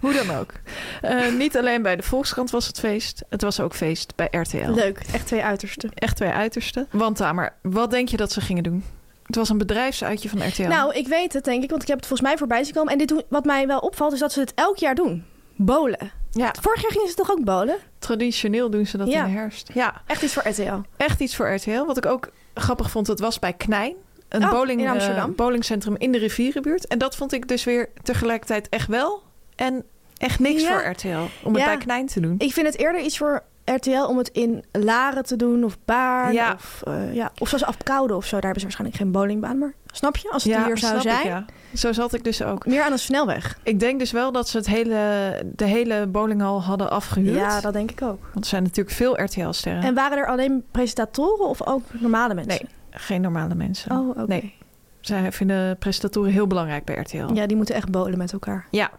D: Hoe dan ook. *laughs* Eh, niet alleen bij de Volkskrant was het feest. Het was ook feest bij RTL.
C: Leuk, echt twee uitersten.
D: Echt twee uitersten. Want Tamer, wat denk je dat ze gingen doen? Het was een bedrijfsuitje van RTL.
C: Nou, ik weet het denk ik, want ik heb het volgens mij voorbij zien komen. En dit, hoe- wat mij wel opvalt, is dat ze het elk jaar doen. Bolen.
D: ja,
C: Vorig jaar gingen ze toch ook bolen?
D: traditioneel doen ze dat
C: Ja.
D: in de herfst. Ja,
C: Echt iets voor RTL.
D: echt iets voor RTL. Wat ik ook grappig vond, het was bij Knijn. Een
C: Oh,
D: bowling,
C: in
D: eh,
C: Amsterdam.
D: bowlingcentrum in de rivierenbuurt. En dat vond ik dus weer tegelijkertijd echt wel. En echt niks
C: Ja.
D: voor RTL. Om het
C: Ja.
D: bij Knijn te doen.
C: Ik vind het eerder iets voor RTL om het in Laren te doen of Baarn.
D: Ja.
C: Of, eh, ja. of zoals Apeldoorn of zo. Daar hebben ze waarschijnlijk geen bowlingbaan. Maar snap je? Als het hier zou
D: snap
C: zijn.
D: Ik, ja. Zo zat ik dus ook.
C: Meer aan een snelweg.
D: Ik denk dus wel dat ze het hele, de hele bowlinghal hadden afgehuurd.
C: Ja, dat denk ik ook.
D: Want er zijn natuurlijk veel RTL-sterren.
C: En waren er alleen presentatoren of ook normale mensen?
D: Geen normale mensen.
C: Oh, oké.
D: Nee. Zij vinden presentatoren heel belangrijk bij RTL.
C: Ja, die moeten echt bolen met elkaar.
D: Ja.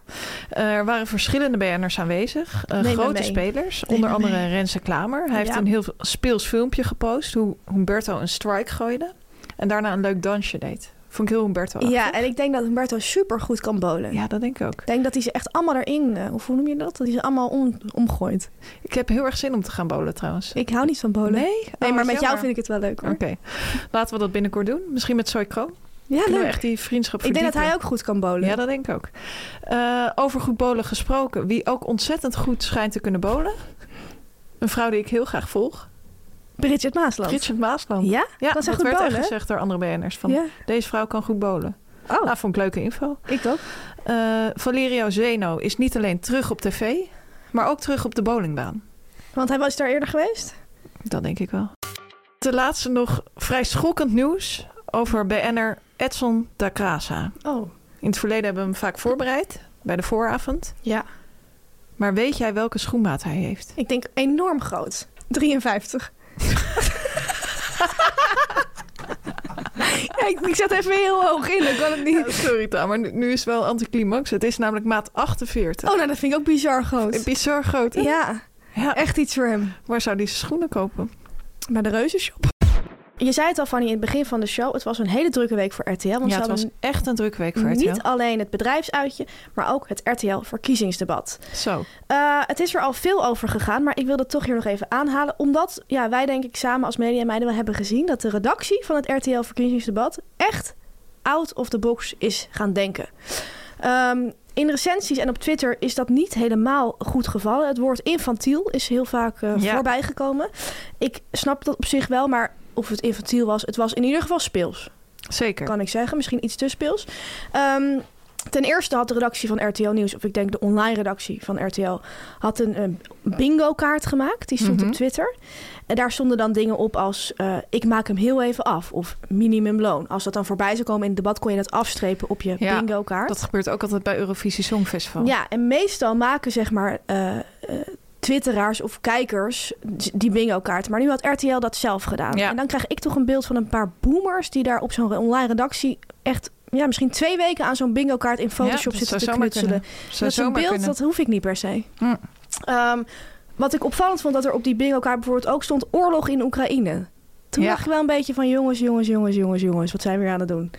D: Eh, er waren verschillende BN'ers aanwezig. Eh,
C: Neem me
D: grote
C: mee.
D: spelers.
C: Neem
D: onder
C: me
D: andere Renze Klamer. Hij heeft
C: Ja.
D: een heel speels filmpje gepost. Hoe Humberto een strike gooide. En daarna een leuk dansje deed. Vond ik heel Humberto.
C: Ja, eh, en ik denk dat Humberto super goed kan bolen.
D: Oh, ja, dat denk ik ook.
C: Ik denk dat hij ze echt allemaal erin, eh, of hoe noem je dat? Dat hij ze allemaal om, omgooit.
D: Ik heb heel erg zin om te gaan bowlen trouwens.
C: Ik hou niet van bolen.
D: Nee?
C: Nee,
D: Oh,
C: maar
D: wat
C: met jou
D: jammer.
C: vind ik het wel leuk hoor.
D: Oké, laten we dat binnenkort doen. Misschien met Soy Kroon.
C: Ja,
D: Kunnen we
C: leuk.
D: echt die vriendschap
C: Ik denk dat
D: verdiepen.
C: hij ook goed kan bolen.
D: Ja, dat denk ik ook. Eh, over goed bolen gesproken. Wie ook ontzettend goed schijnt te kunnen bolen. Een vrouw die ik heel graag volg.
C: Bridget Maasland.
D: Richard Maasland.
C: Ja?
D: ja
C: kan ze
D: dat
C: goed
D: werd echt
C: bowlen?
D: gezegd door andere BN'ers. Van,
C: ja.
D: Deze vrouw kan goed bolen.
C: Oh,
D: Nou, vond ik leuke info.
C: ik ook.
D: Eh, Valerio Zeno is niet alleen terug op tv, maar ook terug op de bowlingbaan.
C: Want hij was daar eerder geweest.
D: Dat denk ik wel. De laatste nog vrij schokkend nieuws over BN'er Edson da Crasa.
C: Oh,
D: In het verleden hebben we hem vaak voorbereid bij de vooravond.
C: ja.
D: Maar weet jij welke schoenmaat hij heeft?
C: Ik denk enorm groot. 53. *laughs* ja, ik, ik zet even heel hoog in, ik kan het niet.
D: Ja, *laughs* sorry Tam, maar nu, nu is het wel anticlimax. Het is namelijk maat 48.
C: Oh, nou dat vind ik ook bizar groot.
D: Bizar groot. hè?
C: Ja,
D: Ja,
C: echt iets voor hem.
D: Waar zou die zijn schoenen kopen?
C: Bij de reuzenshop. Je zei het al, Fanny, in het begin van de show. Het was een hele drukke week voor RTL. Want
D: ja,
C: ze
D: het was
C: hadden
D: echt een drukke week voor
C: niet
D: RTL.
C: alleen het bedrijfsuitje, maar ook het RTL-verkiezingsdebat.
D: Zo,
C: Eh, het is er al veel over gegaan, maar ik wil dat toch hier nog even aanhalen. Omdat ja, wij denk ik samen als media en meiden wel hebben gezien... dat de redactie van het RTL-verkiezingsdebat echt out of the box is gaan denken. Ehm, in recensies en op Twitter is dat niet helemaal goed gevallen. Het woord infantiel is heel vaak eh,
D: Ja.
C: voorbij gekomen. Ik snap dat op zich wel, maar of het infantiel was... het was in ieder geval speels
D: zeker.
C: kan ik zeggen. Misschien iets te speels. Ehm, ten eerste had de redactie van RTL Nieuws, of ik denk de online redactie van RTL, had een, eh, bingo kaart gemaakt. Die stond
D: Mhm.
C: op Twitter. En daar stonden dan dingen op als eh, ik maak hem heel even af of minimumloon. Als dat dan voorbij zou komen in het debat, kon je dat afstrepen op je
D: Ja,
C: bingo kaart.
D: Dat gebeurt ook altijd bij Eurovisie Songfestival.
C: Ja, en meestal maken zeg maar eh, eh, twitteraars of kijkers die bingo kaarten. Maar nu had RTL dat zelf gedaan.
D: Ja.
C: En dan krijg ik toch een beeld van een paar boomers... die daar op zo'n online redactie echt ja, misschien twee weken aan zo'n bingo kaart in Photoshop
D: Ja, dat
C: zitten
D: zou
C: te
D: zomaar
C: knutselen.
D: kunnen. Zou
C: dat is een
D: zomaar
C: beeld,
D: kunnen.
C: dat hoef ik niet per se.
D: Hm.
C: Ehm, wat ik opvallend vond, dat er op die bingo kaart bijvoorbeeld ook stond... oorlog in Oekraïne. Toen
D: Ja.
C: dacht ik wel een beetje van jongens, jongens, jongens, jongens, jongens. Wat zijn we hier aan het doen?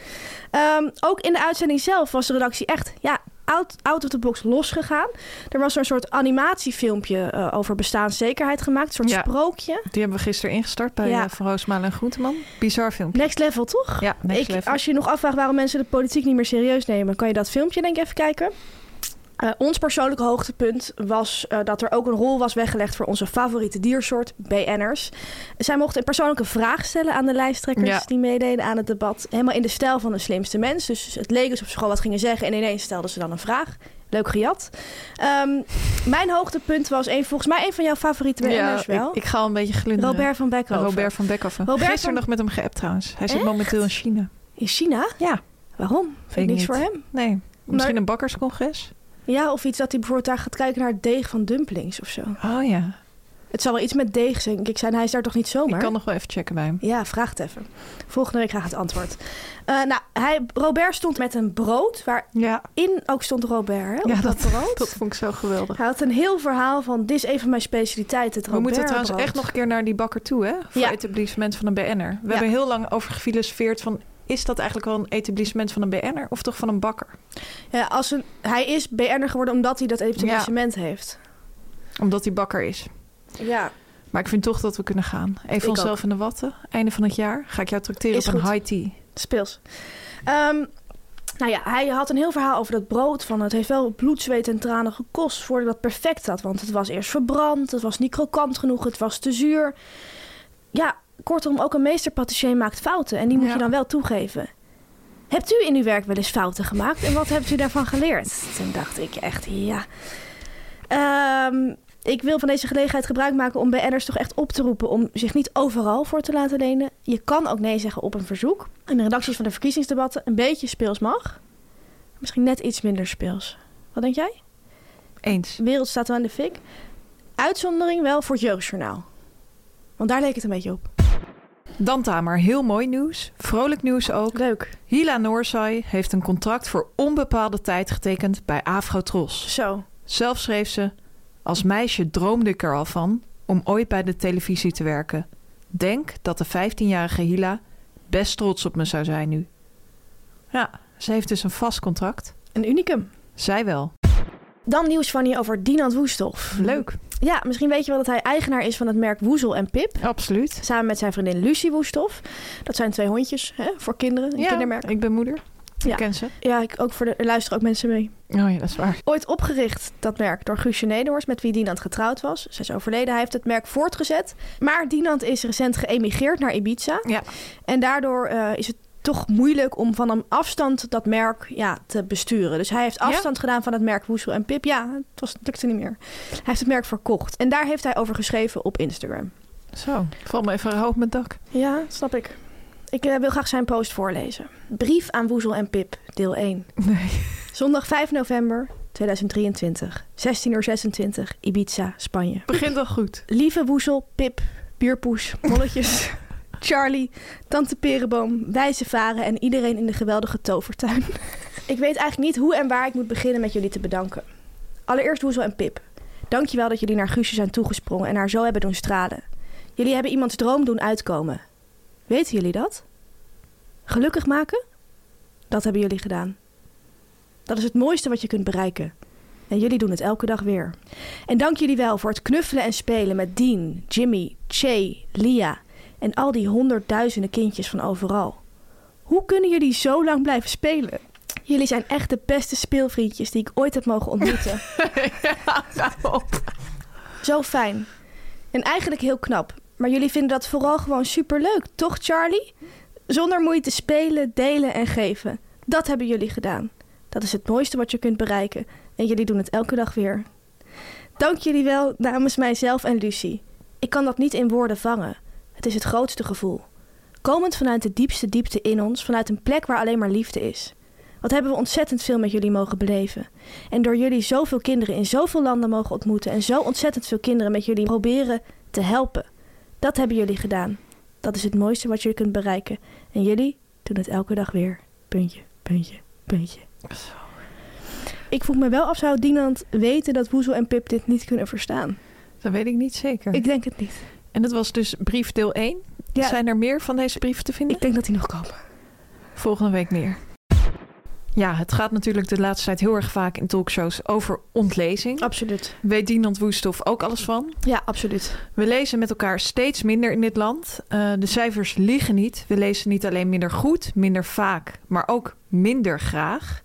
C: Ehm, ook in de uitzending zelf was de redactie echt ja, out, out of the box losgegaan. Er was een soort animatiefilmpje eh, over bestaanszekerheid gemaakt. Een soort
D: Ja.
C: sprookje.
D: Die hebben we gisteren ingestart bij
C: Ja.
D: eh, Van Roosmalen en Groenteman. Bizar filmpje.
C: Next level, toch?
D: Ja, next
C: Ik-
D: level.
C: Als je je nog afvraagt waarom mensen de politiek niet meer serieus nemen... kan je dat filmpje denk ik even kijken. Eh, ons persoonlijke hoogtepunt was eh, dat er ook een rol was weggelegd... voor onze favoriete diersoort, BN'ers. Zij mochten een persoonlijke vraag stellen aan de lijsttrekkers...
D: Ja.
C: die meededen aan het debat. Helemaal in de stijl van de slimste mens. Dus het leek alsof ze gewoon wat gingen zeggen... en ineens stelden ze dan een vraag. Leuk gejat. Ehm, mijn hoogtepunt was een, volgens mij een van jouw favoriete BN'ers wel.
D: ik, ik ga al een beetje glunderen.
C: Robert van Beckhoven.
D: Robert van Beckhoven.
C: Robert
D: Gisteren
C: van-
D: nog met hem geappt trouwens. Hij zit
C: Echt?
D: momenteel in China.
C: In China?
D: Ja.
C: Waarom? Vind
D: ik
C: ik niks
D: niet.
C: voor hem.
D: Nee, misschien een bakkerscongres?
C: Ja, of iets dat hij bijvoorbeeld daar gaat kijken naar het deeg van dumplings of zo.
D: Oh ja.
C: Het zal wel iets met deeg denk ik zijn. Hij is daar toch niet zomaar?
D: Ik kan nog wel even checken bij hem.
C: Ja, vraag het even. Volgende week graag het antwoord. Eh, nou, hij, Robert stond met een brood,
D: Ja,
C: waarin ook stond Robert. Hè, op
D: ja
C: Oh, dat, brood.
D: *laughs* dat vond ik zo geweldig.
C: Hij had een heel verhaal van, dit is een van mijn specialiteiten, het
D: We moeten
C: Robertbrood.
D: trouwens echt nog een keer naar die bakker toe, hè? Voor
C: Ja.
D: etablissement van een BN'er. We
C: Ja.
D: hebben heel lang over gefilosofeerd van... is dat eigenlijk wel een etablissement van een BN'er of toch van een bakker?
C: Ja, als een, hij is BN'er geworden omdat hij dat etablissement heeft.
D: Omdat hij bakker is.
C: Ja.
D: Maar ik vind toch dat we kunnen gaan. Even
C: Ik
D: onszelf in de watten. Einde van het jaar ga ik jou tracteren
C: Is
D: op een
C: goed.
D: high tea.
C: Speels. Ehm, nou ja, hij had een heel verhaal over dat brood. Van het heeft wel bloed, zweet en tranen gekost voordat ik dat perfect had. Want het was eerst verbrand, het was niet krokant genoeg, het was te zuur. Ja, kortom, ook een meesterpatissier maakt fouten. En die moet
D: Ja.
C: je dan wel toegeven. Hebt u in uw werk wel eens fouten gemaakt? En wat hebt u daarvan geleerd? Toen dacht ik echt, ja... Ehm, ik wil van deze gelegenheid gebruik maken om BN'ers toch echt op te roepen om zich niet overal voor te laten lenen. Je kan ook nee zeggen op een verzoek. In de redacties van de verkiezingsdebatten een beetje speels mag. Misschien net iets minder speels. Wat denk jij?
D: Eens.
C: De wereld staat wel in de fik. Uitzondering wel voor het jeugdjournaal. Want daar leek het een beetje op.
D: Dan Tamer, heel mooi nieuws. Vrolijk nieuws ook.
C: Leuk.
D: Hila Noorsai heeft een contract voor onbepaalde tijd getekend bij Afrotros.
C: Zo.
D: Zelf schreef ze... Als meisje droomde ik er al van om ooit bij de televisie te werken. Denk dat de 15-jarige Hila best trots op me zou zijn nu. Ja, ze heeft dus een vast contract.
C: Een unicum.
D: Zij wel.
C: Dan nieuws van je over Dinant Woesthoff.
D: Leuk.
C: Ja, misschien weet je wel dat hij eigenaar is van het merk Woezel en Pip.
D: Absoluut.
C: Samen met zijn vriendin Lucie Woesthoff. Dat zijn twee hondjes hè, voor kinderen. Een kindermerk.
D: ik ben moeder.
C: Ja.
D: Ik ken ze.
C: Ja, ik, ook voor de, er luisteren ook mensen mee.
D: Oh ja, dat is waar.
C: Ooit opgericht, dat merk, door Guusje Nederhorst, met wie Dinant getrouwd was. Zij is overleden, hij heeft het merk voortgezet. Maar Dinant is recent geëmigreerd naar Ibiza.
D: Ja.
C: En daardoor eh, is het toch moeilijk om van een afstand dat merk ja, te besturen. Dus hij heeft
D: Ja?
C: afstand gedaan van het merk Woesel en Pip. Ja, het, was, het lukte niet meer. Hij heeft het merk verkocht. En daar heeft hij over geschreven op Instagram.
D: Zo, val me even hoog mijn dak.
C: Ja, snap ik. Ik eh, wil graag zijn post voorlezen. Brief aan Woezel en Pip, deel 1.
D: Nee.
C: Zondag 5 november 2023, 16 uur 26, Ibiza, Spanje.
D: Begint al *laughs* goed.
C: Lieve Woezel, Pip, Bierpoes, Molletjes, Charlie, Tante Perenboom, Wijze Varen en iedereen in de geweldige tovertuin. ik weet eigenlijk niet hoe en waar ik moet beginnen met jullie te bedanken. Allereerst Woezel en Pip. Dankjewel dat jullie naar Guusje zijn toegesprongen en haar zo hebben doen stralen. Jullie hebben iemands droom doen uitkomen. Weten jullie dat? Gelukkig maken? Dat hebben jullie gedaan. Dat is het mooiste wat je kunt bereiken. En jullie doen het elke dag weer. En dank jullie wel voor het knuffelen en spelen met Dean, Jimmy, Che, Lia en al die honderdduizenden kindjes van overal. Hoe kunnen jullie zo lang blijven spelen? Jullie zijn echt de beste speelvriendjes die ik ooit heb mogen ontmoeten. zo fijn. En eigenlijk heel knap. Maar jullie vinden dat vooral gewoon superleuk, toch Charlie? Zonder moeite spelen, delen en geven. Dat hebben jullie gedaan. Dat is het mooiste wat je kunt bereiken. En jullie doen het elke dag weer. Dank jullie wel namens mijzelf en Lucie. Ik kan dat niet in woorden vangen. Het is het grootste gevoel. Komend vanuit de diepste diepte in ons, vanuit een plek waar alleen maar liefde is. Wat hebben we ontzettend veel met jullie mogen beleven. En door jullie zoveel kinderen in zoveel landen mogen ontmoeten en zo ontzettend veel kinderen met jullie proberen te helpen. Dat hebben jullie gedaan. Dat is het mooiste wat jullie kunt bereiken. En jullie doen het elke dag weer. Puntje, puntje, puntje. Ik vroeg me wel af, zou Dinant weten dat Woezel en Pip dit niet kunnen verstaan?
D: Dat weet ik niet zeker.
C: Ik denk het niet.
D: En dat was dus brief deel 1.
C: Ja.
D: Zijn er meer van deze brieven te vinden?
C: Ik denk dat die nog komen.
D: Volgende week meer. Ja, het gaat natuurlijk de laatste tijd heel erg vaak in talkshows over ontlezing.
C: Absoluut.
D: Weet Dinant Woesthof ook alles van?
C: Ja, absoluut.
D: We lezen met elkaar steeds minder in dit land. Eh, de cijfers liegen niet. We lezen niet alleen minder goed, minder vaak, maar ook minder graag.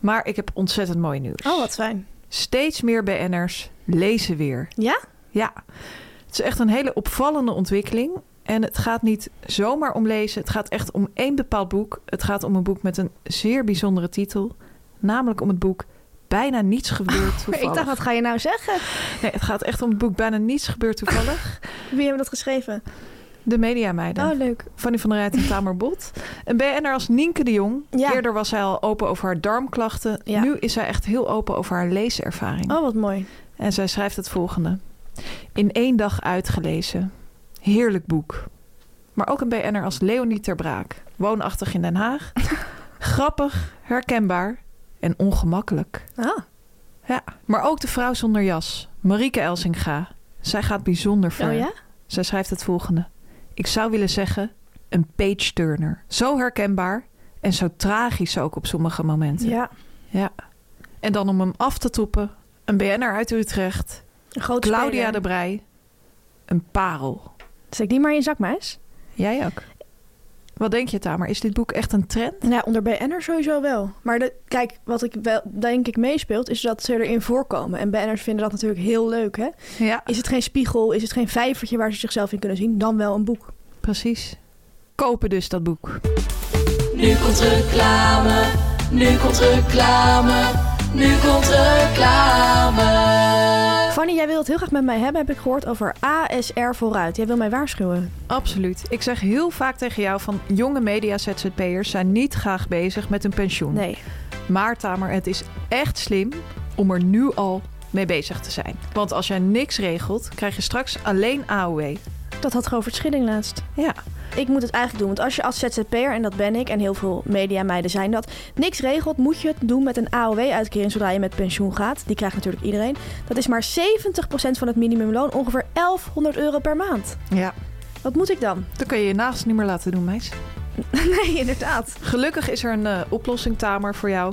D: Maar ik heb ontzettend mooi nieuws.
C: Oh, wat fijn.
D: Steeds meer BN'ers lezen weer.
C: Ja?
D: Ja, het is echt een hele opvallende ontwikkeling. En het gaat niet zomaar om lezen. Het gaat echt om één bepaald boek. Het gaat om een boek met een zeer bijzondere titel. Namelijk om het boek Bijna Niets Gebeurt Toevallig.
C: Oh, Ik dacht, wat ga je nou zeggen?
D: Nee, het gaat echt om het boek Bijna Niets Gebeurt Toevallig.
C: Wie hebben dat geschreven?
D: De Media Meiden.
C: Oh, leuk.
D: Fanny van der Rijt en Tamer Bot. Een BN'er als Nienke de Jong.
C: Ja.
D: Eerder was zij al open over haar darmklachten.
C: Ja.
D: Nu is zij echt heel open over haar leeservaring.
C: Oh, wat mooi.
D: En zij schrijft het volgende. In één dag uitgelezen. Heerlijk boek. Maar ook een BN'er als Leonie Ter Braak. Woonachtig in Den
C: *laughs*
D: Haag. Grappig, herkenbaar en ongemakkelijk.
C: Ah,
D: Ja, maar ook de vrouw zonder jas, Marieke Elsinga. Zij gaat bijzonder ver.
C: oh ja?
D: Zij schrijft het volgende. Ik zou willen zeggen, een page-turner. Zo herkenbaar en zo tragisch ook op sommige momenten.
C: Ja,
D: Ja. En dan om hem af te toppen, een BN'er uit Utrecht,
C: een grote
D: Claudia
C: speler.
D: de Brij, een parel.
C: Steek die maar in je zak, meis.
D: Jij ook. Wat denk je, Tamer? Is dit boek echt een trend?
C: Ja, onder BN'er sowieso wel. Maar de, kijk, wat ik wel denk ik meespeelt, is dat ze erin voorkomen. En BN'ers vinden dat natuurlijk heel leuk, hè?
D: Ja,
C: Is het geen spiegel, is het geen vijvertje waar ze zichzelf in kunnen zien? Dan wel een boek.
D: precies. Kopen dus dat boek.
E: Nu komt reclame, nu komt reclame, nu komt reclame.
C: Fanny, jij wil het heel graag met mij hebben, heb ik gehoord, over ASR vooruit. Jij wil mij waarschuwen.
D: Absoluut. Ik zeg heel vaak tegen jou van jonge media-ZZP'ers zijn niet graag bezig met hun pensioen.
C: Nee.
D: Maar Tamer, het is echt slim om er nu al mee bezig te zijn. Want als jij niks regelt, krijg je straks alleen AOW.
C: Dat had Govert Schilling laatst.
D: Ja,
C: Ik moet het eigenlijk doen, want als je als ZZP'er, en dat ben ik en heel veel mediameiden zijn dat, niks regelt, moet je het doen met een AOW-uitkering zodra je met pensioen gaat. Die krijgt natuurlijk iedereen. Dat is maar 70% van het minimumloon, ongeveer 1100 euro per maand.
D: ja.
C: Wat moet ik dan?
D: dan kun je je nagels niet meer laten doen, meis.
C: *laughs* Nee, inderdaad.
D: Gelukkig is er een eh, oplossing, Tamer, voor jou...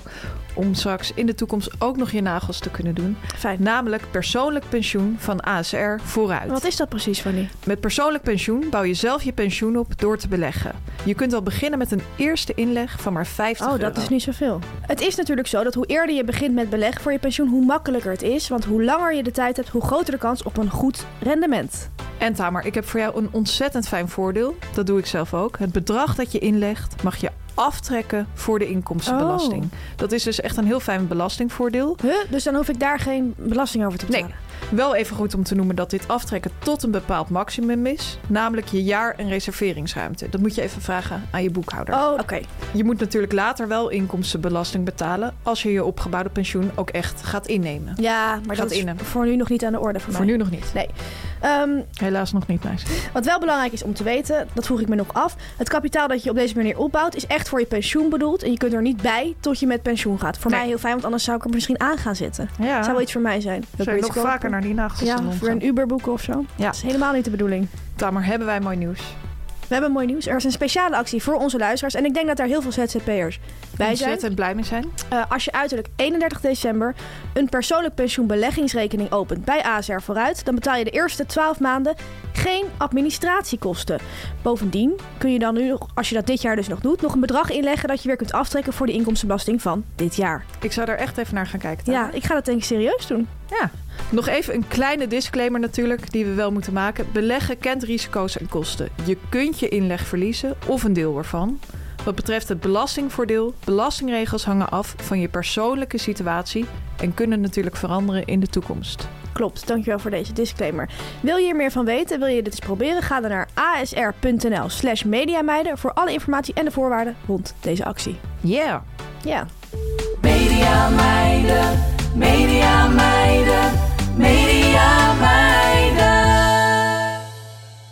D: om straks in de toekomst ook nog je nagels te kunnen doen.
C: Fijn. Nou,
D: Namelijk persoonlijk pensioen van ASR vooruit.
C: Wat is dat precies, Fanny?
D: Met persoonlijk pensioen bouw je zelf je pensioen op door te beleggen. Je kunt al beginnen met een eerste inleg van maar 50
C: Oh, dat
D: euro.
C: is niet zoveel. Het is natuurlijk zo dat hoe eerder je begint met beleg voor je pensioen, hoe makkelijker het is. Want hoe langer je de tijd hebt, hoe groter de kans op een goed rendement.
D: En Tamer, ik heb voor jou een ontzettend fijn voordeel. Dat doe ik zelf ook. Het bedrag dat je inlegt mag je aftrekken voor de inkomstenbelasting.
C: Oh.
D: Dat is dus echt een heel fijn belastingvoordeel.
C: Huh? Dus dan hoef ik daar geen belasting over te
D: Nee.
C: betalen.
D: Wel even goed om te noemen dat dit aftrekken tot een bepaald maximum is. Namelijk je jaar- en reserveringsruimte. Dat moet je even vragen aan je boekhouder.
C: Oh, oké.
D: Je moet natuurlijk later wel inkomstenbelasting betalen... als je je opgebouwde pensioen ook echt gaat innemen.
C: Ja, maar
D: Gaat
C: dat is
D: in hem.
C: voor nu nog niet aan de orde voor,
D: Voor
C: mij.
D: nu nog niet.
C: Ehm,
D: Helaas nog niet, meisje.
C: wat wel belangrijk is om te weten, dat vroeg ik me nog af. Het kapitaal dat je op deze manier opbouwt is echt voor je pensioen bedoeld. En je kunt er niet bij tot je met pensioen gaat. Voor
D: Nee.
C: mij heel fijn, want anders zou ik er misschien aan gaan zitten.
D: Ja.
C: Zou wel iets voor mij zijn. Dat
D: Zou je
C: ik
D: nog
C: iets koop.
D: vaker naar die nagels
C: Ja, voor een Uber boeken of zo.
D: Ja.
C: Dat is helemaal niet de bedoeling.
D: Tamer, hebben wij mooi nieuws.
C: We hebben mooi nieuws. Er is een speciale actie voor onze luisteraars. En ik denk dat daar heel veel ZZP'ers bij zijn.
D: Ontzettend blij mee zijn.
C: Eh, als je uiterlijk 31 december een persoonlijk pensioenbeleggingsrekening opent bij ASR Vooruit, dan betaal je de eerste 12 maanden geen administratiekosten. Bovendien kun je dan nu, nog, als je dat dit jaar dus nog doet, nog een bedrag inleggen dat je weer kunt aftrekken voor de inkomstenbelasting van dit jaar.
D: Ik zou daar echt even naar gaan kijken. Tamer.
C: Ja, ik ga dat denk ik serieus doen.
D: Ja. Nog even een kleine disclaimer natuurlijk, die we wel moeten maken. Beleggen kent risico's en kosten. Je kunt je inleg verliezen of een deel ervan. Wat betreft het belastingvoordeel, belastingregels hangen af van je persoonlijke situatie en kunnen natuurlijk veranderen in de toekomst.
C: Klopt, dankjewel voor deze disclaimer. Wil je hier meer van weten? Wil je dit eens proberen? Ga dan naar asr.nl slash mediameiden voor alle informatie en de voorwaarden rond deze actie.
D: Yeah!
C: Ja.
E: Media meiden, media meiden, media meiden.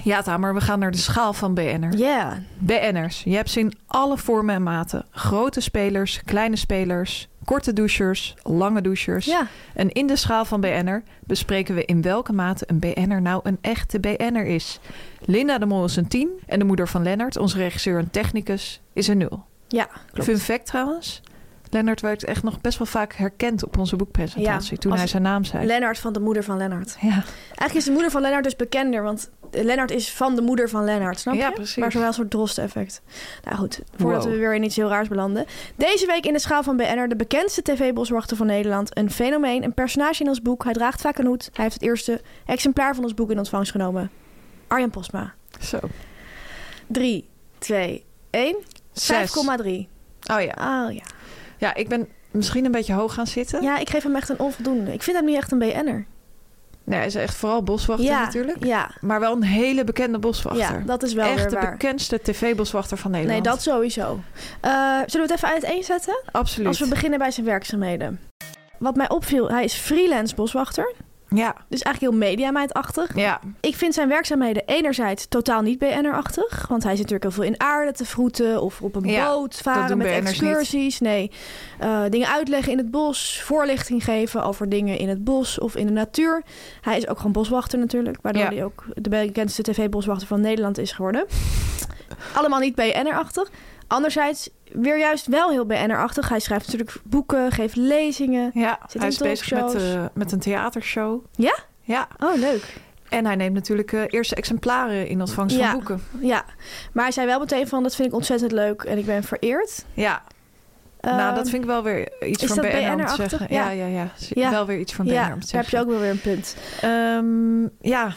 D: Ja, Tamer, we gaan naar de schaal van BN'er.
C: Ja.
D: BN'ers, je hebt ze in alle vormen en maten. Grote spelers, kleine spelers, korte douchers, lange douchers.
C: Ja.
D: En in de schaal van BN'er bespreken we in welke mate een BN'er nou een echte BN'er is. Linda de Mol is een 10 en de moeder van Lennart, onze regisseur en technicus, is een 0.
C: Ja, klopt.
D: Fun fact trouwens, Lennart werd echt nog best wel vaak herkend op onze boekpresentatie
C: Ja,
D: toen
C: als-
D: hij zijn naam zei.
C: Lennart van de moeder van Lennart.
D: ja.
C: Eigenlijk is de moeder van Lennart dus bekender, want Lennart is van de moeder van Lennart, snap je?
D: Ja, precies.
C: Maar zowel een soort drost-effect. Nou goed, voordat
D: Wow.
C: we weer in iets heel raars belanden. Deze week in de schaal van BNR, de bekendste tv-boswachter van Nederland. Een fenomeen, een personage in ons boek. Hij draagt vaak een hoed. Hij heeft het eerste exemplaar van ons boek in ontvangst genomen. Arjan Postma.
D: Zo.
C: 3, 2, 1. 5,3.
D: Zes. Oh ja.
C: Oh ja.
D: ja, ik ben misschien een beetje hoog gaan zitten.
C: Ja, ik geef hem echt een onvoldoende. Ik vind hem niet echt een BN'er.
D: Nee, hij is echt vooral boswachter
C: ja,
D: natuurlijk.
C: Ja,
D: Maar wel een hele bekende boswachter.
C: ja, dat is wel
D: Echt
C: weer
D: de
C: waar.
D: bekendste tv-boswachter van
C: Nee,
D: Nederland.
C: dat sowieso. Eh, zullen we het even uiteenzetten?
D: absoluut.
C: Als we beginnen bij zijn werkzaamheden. Wat mij opviel, hij is freelance boswachter.
D: Ja,
C: Dus eigenlijk heel mediameidachtig.
D: ja,
C: Ik vind zijn werkzaamheden enerzijds totaal niet BN'er-achtig. Want hij zit natuurlijk heel veel in aarde te vroeten of op een
D: Ja,
C: boot
D: doen
C: varen met
D: BN'ers niet.
C: excursies. Nee, Eh, dingen uitleggen in het bos, voorlichting geven over dingen in het bos of in de natuur. Hij is ook gewoon boswachter natuurlijk, waardoor
D: Ja.
C: hij ook de bekendste tv-boswachter van Nederland is geworden. Allemaal niet BN'er-achtig. Anderzijds weer juist wel heel BN'er-achtig. Hij schrijft natuurlijk boeken, geeft lezingen.
D: ja.
C: Zit
D: hij
C: in
D: is bezig met,
C: talkshows.
D: eh, met een theatershow.
C: Ja?
D: Ja,
C: Oh, leuk.
D: en hij neemt natuurlijk eh, eerste exemplaren in ontvangst
C: Ja.
D: van boeken.
C: Ja, maar hij zei wel meteen van, dat vind ik ontzettend leuk en ik ben vereerd.
D: Ja, nou dat vind ik wel weer iets
C: Ehm, is
D: van
C: dat
D: BNR om te
C: BN'er-achtig?
D: zeggen. Ja,
C: Ja.
D: ja, ja. Z-
C: Ja.
D: Wel weer iets van BNR
C: ja,
D: om te
C: daar heb
D: zeggen.
C: je ook wel weer een punt.
D: Ehm, ja,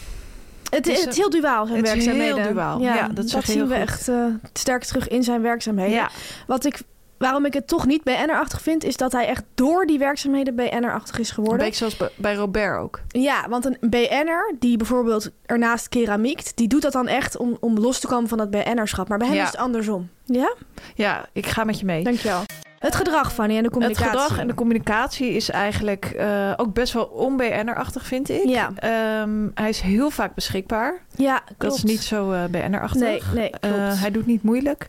C: Het,
D: Dus,
C: is,
D: eh,
C: het is heel duaal, zijn
D: het is heel
C: werkzaamheden.
D: duaal. Ja, dat zeg je
C: zien
D: heel
C: we
D: goed.
C: echt eh, sterk terug in zijn werkzaamheden.
D: ja,
C: Wat ik, waarom ik het toch niet BN'er-achtig vind, is dat hij echt door die werkzaamheden BN'er-achtig is
D: een
C: geworden.
D: beetje zoals bij- bij Robert ook.
C: Ja, want een BN'er die bijvoorbeeld ernaast keramiekt, die doet dat dan echt om, om los te komen van dat BN'erschap. Maar bij hem
D: Ja.
C: is het andersom. Ja,
D: Ja, ik ga met je mee.
C: dankjewel. Het gedrag, Fanny, en de
D: Het
C: communicatie.
D: gedrag en de communicatie is eigenlijk eh, ook best wel on-BNR-achtig, vind ik.
C: Ja.
D: Ehm, hij is heel vaak beschikbaar.
C: Ja, klopt.
D: Dat is niet zo eh BNR-achtig.
C: Nee, nee, klopt.
D: Eh, hij doet niet moeilijk.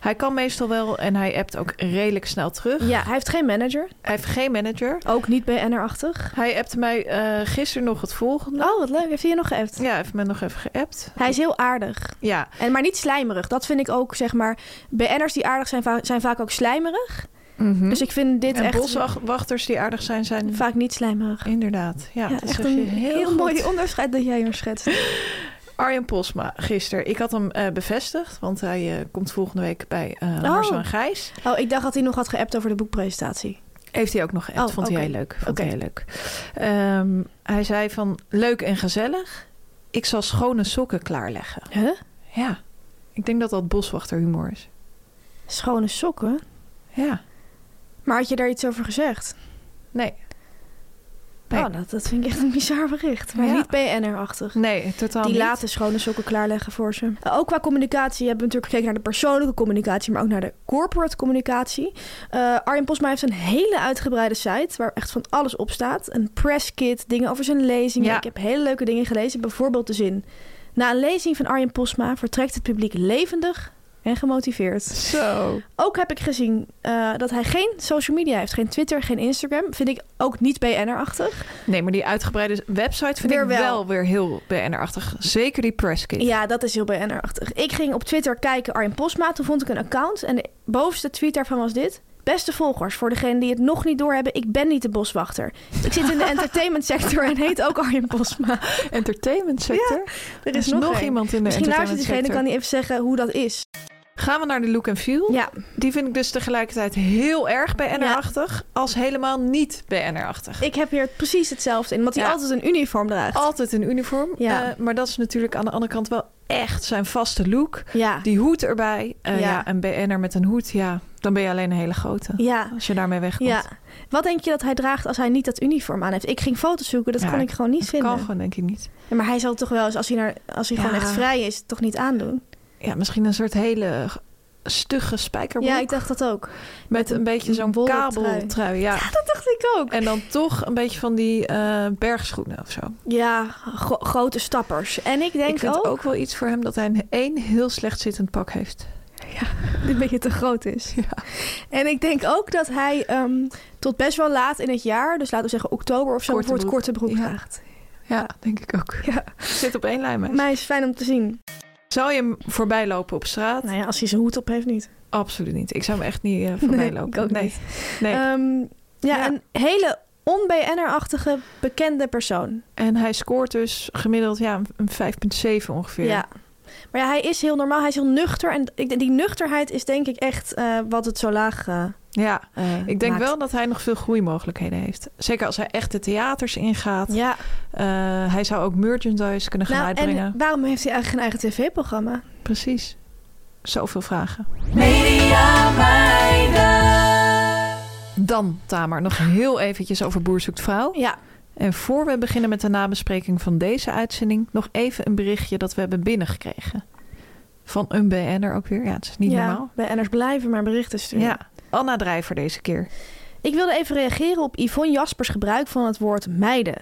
D: Hij kan meestal wel en hij appt ook redelijk snel terug.
C: Ja, hij heeft geen manager.
D: Hij heeft geen manager.
C: Ook niet BN'er-achtig.
D: Hij appte mij eh, gisteren nog het volgende.
C: Oh, wat leuk. Heeft hij je nog geappt?
D: Ja, heeft me nog even geappt.
C: Hij is heel aardig.
D: Ja,
C: En, maar niet slijmerig. Dat vind ik ook, zeg maar... BN'ers die aardig zijn, va- zijn vaak ook slijmerig. Dus ik vind dit
D: Hm? en
C: echt
D: boswachters die aardig zijn, zijn
C: vaak niet slijmerig.
D: inderdaad. Ja,
C: Ja,
D: dat
C: echt
D: zeg
C: een
D: je
C: heel,
D: goed.
C: mooi onderscheid dat jij hier schetst.
D: Arjen Posma gisteren. Ik had hem eh, bevestigd, want hij eh, komt volgende week bij eh
C: Oh.
D: Marcel en Gijs.
C: Oh, ik dacht dat hij nog had geappt over de boekpresentatie.
D: Heeft hij ook nog geappt.
C: Oh,
D: vond
C: oké.
D: hij heel leuk. Vond hij,
C: Oké.
D: heel leuk. Ehm, hij zei van leuk en gezellig. Ik zal schone sokken klaarleggen.
C: Huh?
D: Ja, ik denk dat dat boswachterhumor is.
C: Schone sokken?
D: Ja,
C: Maar had je daar iets over gezegd?
D: nee. Nee.
C: Oh, dat, dat vind ik echt een bizar bericht. Maar
D: Ja.
C: niet BNR-achtig.
D: Nee, totaal
C: Die
D: niet.
C: laten schone sokken klaarleggen voor ze. Eh, Ook qua communicatie hebben we natuurlijk gekeken naar de persoonlijke communicatie, maar ook naar de corporate communicatie. Eh, Arjen Posma heeft een hele uitgebreide site waar echt van alles op staat. Een presskit, dingen over zijn lezingen.
D: Ja.
C: Ik heb hele leuke dingen gelezen. Bijvoorbeeld de zin. Na een lezing van Arjen Posma vertrekt het publiek levendig en gemotiveerd.
D: Zo.
C: Ook heb ik gezien eh, dat hij geen social media heeft. Geen Twitter, geen Instagram. Vind ik ook niet BNR-achtig.
D: Nee, maar die uitgebreide website vind
C: Weer
D: ik
C: wel.
D: wel weer heel BNR-achtig. Zeker die presskit.
C: Ja, dat is heel BNR-achtig. Ik ging op Twitter kijken Arjen Posma. Toen vond ik een account en de bovenste tweet daarvan was dit. Beste volgers, voor degenen die het nog niet doorhebben, ik ben niet de boswachter. Ik zit
D: *laughs*
C: in de entertainment sector en heet ook Arjen Posma.
D: Entertainment sector.
C: Er
D: Er is nog,
C: één.
D: iemand in de
C: Misschien luistert
D: entertainment
C: diegene,
D: sector.
C: kan hij even zeggen hoe dat is.
D: Gaan we naar de look and feel.
C: Ja,
D: Die vind ik dus tegelijkertijd heel erg BNR-achtig. Als helemaal niet BNR-achtig.
C: ik heb hier precies hetzelfde in, want hij
D: Ja.
C: altijd een uniform draagt.
D: Altijd in uniform.
C: Ja.
D: eh, maar dat is natuurlijk aan de andere kant wel echt zijn vaste look.
C: Ja,
D: Die hoed erbij. Eh, ja.
C: Ja.
D: een BN'er met een hoed. Ja, dan ben je alleen een hele grote.
C: ja,
D: Als je daarmee wegkomt.
C: ja. Wat denk je dat hij draagt als hij niet dat uniform aan heeft? Ik ging foto's zoeken, dat
D: Ja,
C: kon ik gewoon niet
D: Dat
C: vinden.
D: kan gewoon denk ik niet.
C: Ja, maar hij zal toch wel eens, als hij, naar, als hij
D: Ja.
C: gewoon echt vrij is, toch niet aandoen?
D: Ja, misschien een soort hele stugge spijkerbroek.
C: Ja, ik dacht dat *laughs* ook.
D: met een
C: een
D: beetje zo'n
C: wollen
D: kabeltrui. Ja.
C: Dat dacht ik ook.
D: En dan toch een beetje van die eh, bergschoenen of zo.
C: Ja, gro- grote stappers. En ik denk
D: ik vind
C: ook, *laughs*
D: ook wel iets voor hem dat hij een één heel slecht zittend pak heeft.
C: een beetje te groot is. En ik denk ook dat hij ehm, tot best wel laat in het jaar, dus laten we zeggen oktober of zo,
D: Korte
C: voor het
D: broek.
C: korte broek
D: Ja.
C: draagt.
D: Ja, denk ik ook.
C: Ja.
D: Zit op één lijn, meisje.
C: Maar hij is fijn om te zien.
D: Zou je hem voorbij lopen op straat?
C: Nou ja, als hij zijn hoed op heeft niet.
D: Absoluut niet. Ik zou hem
C: *laughs*
D: echt niet eh, voorbij
C: Nee, ik
D: lopen.
C: ook
D: nee.
C: niet.
D: Nee.
C: Ehm, ja,
D: Ja.
C: een hele on-BN'er-achtige bekende persoon.
D: en hij scoort dus gemiddeld ja, een 5,7 ongeveer.
C: Ja. Maar ja, hij is heel normaal, hij is heel nuchter. En ik, denk- die nuchterheid is denk ik echt eh, wat het zo laag eh,
D: Ja.
C: eh,
D: Ik denk
C: maakt.
D: wel dat hij nog veel groeimogelijkheden heeft. Zeker als hij echt de theaters ingaat.
C: Ja,
D: Eh, hij zou ook merchandise kunnen gaan
C: nou,
D: uitbrengen.
C: en waarom heeft hij eigenlijk geen eigen tv-programma?
D: Precies. Zoveel vragen.
E: Media meiden.
D: Dan, Tamer, nog heel eventjes over Boer zoekt vrouw.
C: Ja,
D: En voor we beginnen met de nabespreking van deze uitzending... nog even een berichtje dat we hebben binnengekregen. Van een BN'er ook weer. Ja, het is niet
C: ja,
D: normaal.
C: Bij NR's blijven maar berichten sturen.
D: Ja, Anna Drijver deze keer.
C: Ik wilde even reageren op Yvonne Jaspers gebruik van het woord meiden.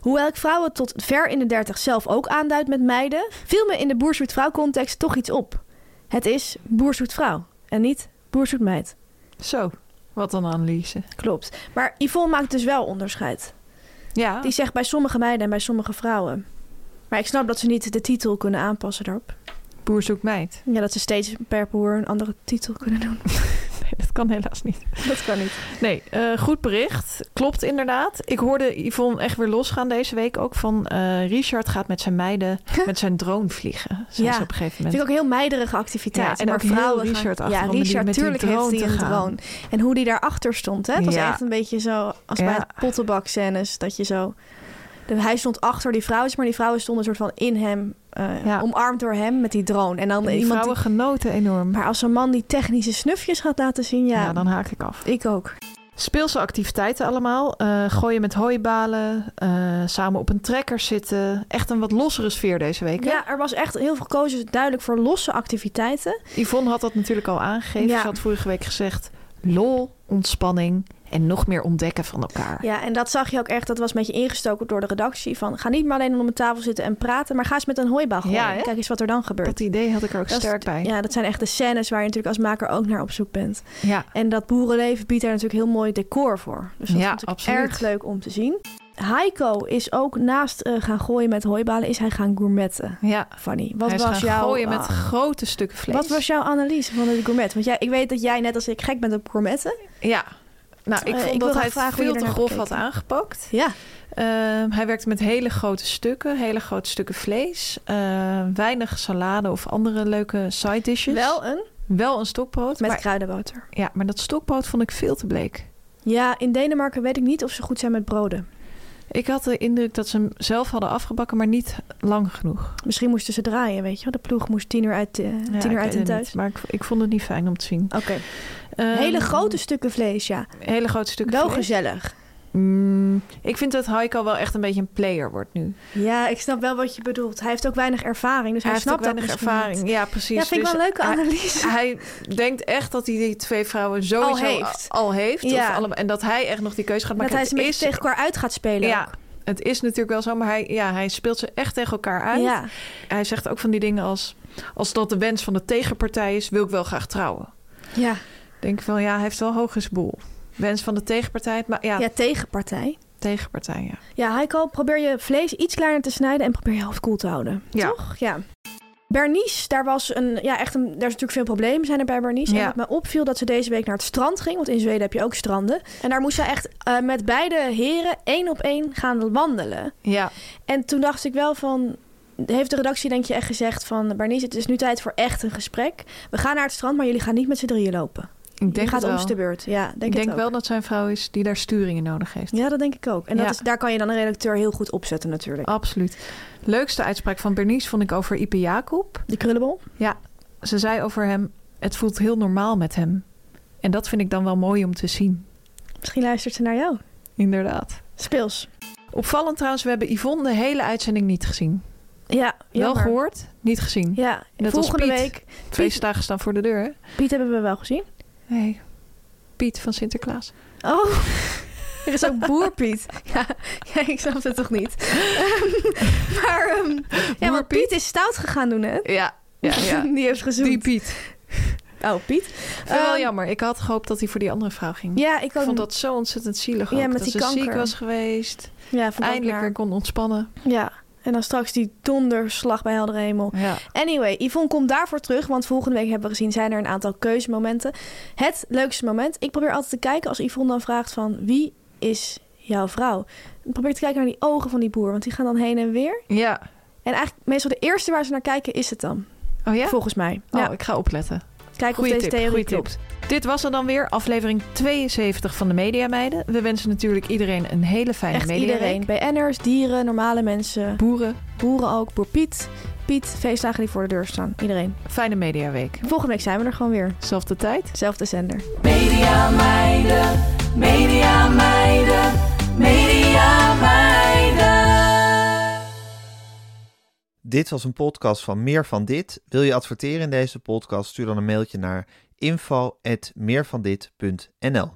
C: Hoewel ik vrouwen tot ver in de dertig zelf ook aanduid met meiden, viel me in de boer zoekt vrouw context toch iets op. Het is boer zoekt vrouw en niet boer zoekt meid.
D: Zo, wat dan analyse.
C: Klopt. Maar Yvonne maakt dus wel onderscheid.
D: Ja,
C: Die zegt bij sommige meiden en bij sommige vrouwen. Maar ik snap dat ze niet de titel kunnen aanpassen daarop.
D: boer zoekt meid. *laughs*
C: Ja, dat ze steeds per boer een andere titel kunnen doen. *laughs*
D: Nee, dat kan helaas niet.
C: Dat kan niet.
D: Nee, eh, goed bericht. Klopt inderdaad. Ik hoorde Yvonne echt weer losgaan deze week ook van... eh, Richard gaat met zijn
C: *laughs*
D: meiden met zijn drone vliegen. Zei
C: Ja,
D: ze op een gegeven
C: Vind ik
D: moment.
C: ook een heel meiderige activiteit.
D: Ja, en
C: maar
D: ook heel
C: vrouwen
D: Richard
C: gaan...
D: achter
C: Ja,
D: om die-
C: Richard,
D: met die
C: tuurlijk
D: drone
C: heeft hij
D: te
C: een
D: gaan.
C: drone. En hoe die daarachter stond, hè? Het was
D: Ja.
C: echt een beetje zo als bij
D: Ja.
C: het pottenbak scènes. Dat je zo... de- hij stond achter die vrouwen, maar die vrouwen stonden soort van in hem. eh,
D: Ja.
C: Omarmd door hem met die drone. En dan
D: En die
C: iemand
D: vrouwen
C: die-
D: genoten enorm.
C: Maar als een man die technische snufjes gaat laten zien, ja,
D: ja, dan haak ik af.
C: ik ook.
D: Speelse activiteiten allemaal. Eh, gooien met hooibalen. eh, samen op een trekker zitten. Echt een wat lossere sfeer deze week. hè?
C: Ja, er was echt heel veel kozen duidelijk voor losse activiteiten.
D: Yvonne had dat natuurlijk al aangegeven.
C: Ja.
D: Ze had vorige week gezegd... lol, ontspanning en nog meer ontdekken van elkaar.
C: Ja, en dat zag je ook echt. Dat was een beetje ingestoken door de redactie. Van ga niet maar alleen om de tafel zitten en praten, maar ga eens met een hooibaal gooien.
D: Ja, hè?
C: Kijk eens wat er dan gebeurt.
D: Dat idee had ik er ook
C: Dat is-
D: sterk bij.
C: Ja, dat zijn echt de scènes waar je natuurlijk als maker ook naar op zoek bent.
D: Ja.
C: En dat boerenleven biedt daar natuurlijk heel mooi decor voor. Dus dat
D: Ja,
C: is natuurlijk
D: absoluut.
C: erg leuk om te zien. Heiko is ook naast eh, gaan gooien met hooibalen, is hij gaan gourmetten.
D: Ja.
C: Fanny, wat
D: Hij is
C: was
D: gaan
C: jouw
D: gooien met
C: ah,
D: grote stukken vlees.
C: Wat was jouw analyse van de gourmet? Want jij, ik weet dat jij net als ik gek bent op gourmetten.
D: Ja. Nou, ik
C: Eh,
D: vond
C: ik wil graag
D: dat hij het
C: vragen hoe je
D: veel te
C: ernaar
D: grof
C: gekeken
D: had aangepakt.
C: Ja.
D: Ehm, hij werkte met hele grote stukken, hele grote stukken vlees. eh, weinig salade of andere leuke side dishes.
C: Wel een
D: Wel een stokbrood.
C: met
D: maar,
C: kruidenboter.
D: ja, maar dat stokbrood vond ik veel te bleek.
C: Ja, in Denemarken weet ik niet of ze goed zijn met broden.
D: Ik had de indruk dat ze hem zelf hadden afgebakken, maar niet lang genoeg.
C: Misschien moesten ze draaien, weet je wel. De ploeg moest tien uur uit, eh,
D: Ja,
C: tien
D: ik
C: uur uit
D: weet
C: en
D: het
C: thuis.
D: niet, maar ik, ik vond het niet fijn om te zien.
C: Oké.
D: Ehm,
C: Hele grote stukken vlees, ja.
D: hele grote stukken
C: Wel
D: vlees.
C: gezellig.
D: Mm, ik vind dat Heiko wel echt een beetje een player wordt nu.
C: Ja, ik snap wel wat je bedoelt. Hij heeft ook weinig ervaring, dus hij,
D: hij heeft ook
C: snapt dat
D: weinig
C: misschien
D: ervaring.
C: niet.
D: Ja, precies.
C: Ja, vind ik
D: Dus
C: wel een leuke
D: hij-
C: analyse.
D: *laughs* Hij denkt echt dat hij die twee vrouwen sowieso
C: Al heeft.
D: al heeft.
C: Ja.
D: Of allemaal, en dat hij echt nog die keuze gaat
C: dat
D: maken.
C: hij ze een
D: Het
C: beetje
D: is-
C: tegen elkaar uit gaat spelen.
D: Ja,
C: ook.
D: het is natuurlijk wel zo, maar hij, ja, hij speelt ze echt tegen elkaar uit.
C: ja.
D: Hij zegt ook van die dingen als... als dat de wens van de tegenpartij is, wil ik wel graag trouwen.
C: Ja.
D: Ik Denk van, ja, hij heeft wel hoog boel. Wens van de tegenpartij, maar ja,
C: ja, tegenpartij.
D: tegenpartij, ja.
C: Ja, Heiko, probeer je vlees iets kleiner te snijden en probeer je hoofd koel te houden.
D: Ja.
C: Toch? Ja. Bernice, daar was een, ja, echt een, daar is natuurlijk veel problemen zijn er bij Bernice. En
D: Ja.
C: wat mij opviel dat ze deze week naar het strand ging, want in Zweden heb je ook stranden. En daar moest ze echt eh, met beide heren één op één gaan wandelen.
D: Ja,
C: En toen dacht ik wel van, heeft de redactie denk je echt gezegd van, Bernice, het is nu tijd voor echt een gesprek. We gaan naar het strand, maar jullie gaan niet met z'n drieën lopen.
D: ik
C: Je
D: denk
C: gaat
D: het wel.
C: om de beurt. Ja, denk
D: ik
C: het
D: denk
C: ook.
D: wel dat zijn vrouw is die daar sturingen nodig heeft.
C: Ja, dat denk ik ook. En dat
D: Ja. Oh.
C: is, daar kan je dan een redacteur heel goed opzetten natuurlijk.
D: Absoluut. Leukste uitspraak van Bernice vond ik over Ipe Jacob.
C: Die krullenbol.
D: Ja, ze zei over hem: het voelt heel normaal met hem. En dat vind ik dan wel mooi om te zien.
C: Misschien luistert ze naar jou.
D: Inderdaad.
C: Speels.
D: Opvallend trouwens, we hebben Yvonne de hele uitzending niet gezien.
C: Ja, jammer.
D: Wel gehoord, niet gezien.
C: Ja,
D: Net als
C: volgende
D: Piet.
C: week.
D: Feestdagen staan voor de deur, hè?
C: Piet hebben we wel gezien.
D: Nee. Piet van Sinterklaas.
C: Oh, *laughs* er is ook boer Piet. *laughs* Ja, ja, ik snap het toch
D: *laughs*
C: niet. Ehm, maar ehm, ja,
D: Boer
C: want Piet is stout gegaan doen, hè?
D: Ja,
C: *laughs* Die heeft gezoend.
D: Die Piet.
C: Oh, Piet.
D: Vind ik Eh, wel
C: Ehm,
D: jammer. Ik had gehoopt dat hij voor die andere vrouw ging.
C: Ja, ik
D: Ik
C: ook.
D: vond dat zo ontzettend zielig.
C: Ja,
D: ook,
C: met
D: dat
C: die
D: ze ziek
C: kanker.
D: was geweest.
C: ja, vond ik ook
D: Eindelijk weer
C: naar.
D: kon ontspannen.
C: Ja, en dan straks die donderslag bij heldere hemel.
D: Ja.
C: Anyway, Yvonne komt daarvoor terug, want volgende week hebben we gezien zijn er een aantal keuzemomenten. Het leukste moment. Ik probeer altijd te kijken als Yvonne dan vraagt van wie is jouw vrouw? Ik probeer te kijken naar die ogen van die boer, want die gaan dan heen en weer.
D: ja.
C: En eigenlijk meestal de eerste waar ze naar kijken is het dan,
D: Oh ja?
C: volgens mij.
D: Oh,
C: ja,
D: ik ga opletten.
C: kijken of
D: Goeie
C: deze
D: tip,
C: theorie
D: goeie
C: klopt.
D: tip. Dit was er dan weer, aflevering 72 van de Media Meiden. We wensen natuurlijk iedereen een hele fijne
C: Echt
D: mediaweek.
C: iedereen. BN'ers, dieren, normale mensen,
D: Boeren,
C: boeren ook, boer Piet. Piet, feestdagen die voor de deur staan. Iedereen.
D: fijne mediaweek.
C: Volgende week zijn we er gewoon weer.
D: Zelfde tijd.
C: Zelfde zender.
E: Media meiden, media meiden, media meiden.
F: Dit was een podcast van Meer van Dit. Wil je adverteren in deze podcast? Stuur dan een mailtje naar info.meervandit.nl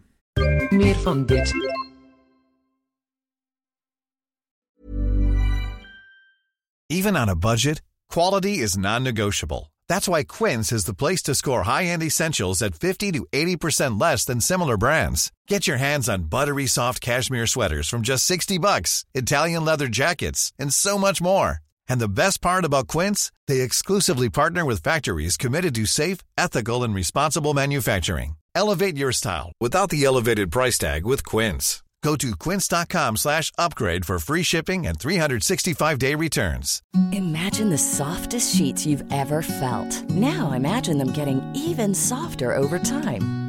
G: Meer van dit. Even on a budget, quality is non-negotiable. That's why Quince is the place to score high-end essentials at 50 to 80% less than similar brands. Get your hands on buttery soft cashmere sweaters from just 60 bucks, Italian leather jackets, and so much more. And the best part about Quince, they exclusively partner with factories committed to safe, ethical, and responsible manufacturing. Elevate your style without the elevated price tag with Quince. Go to quince.com slash upgrade for free shipping and 365-day returns.
H: Imagine the softest sheets you've ever felt. Now imagine them getting even softer over time.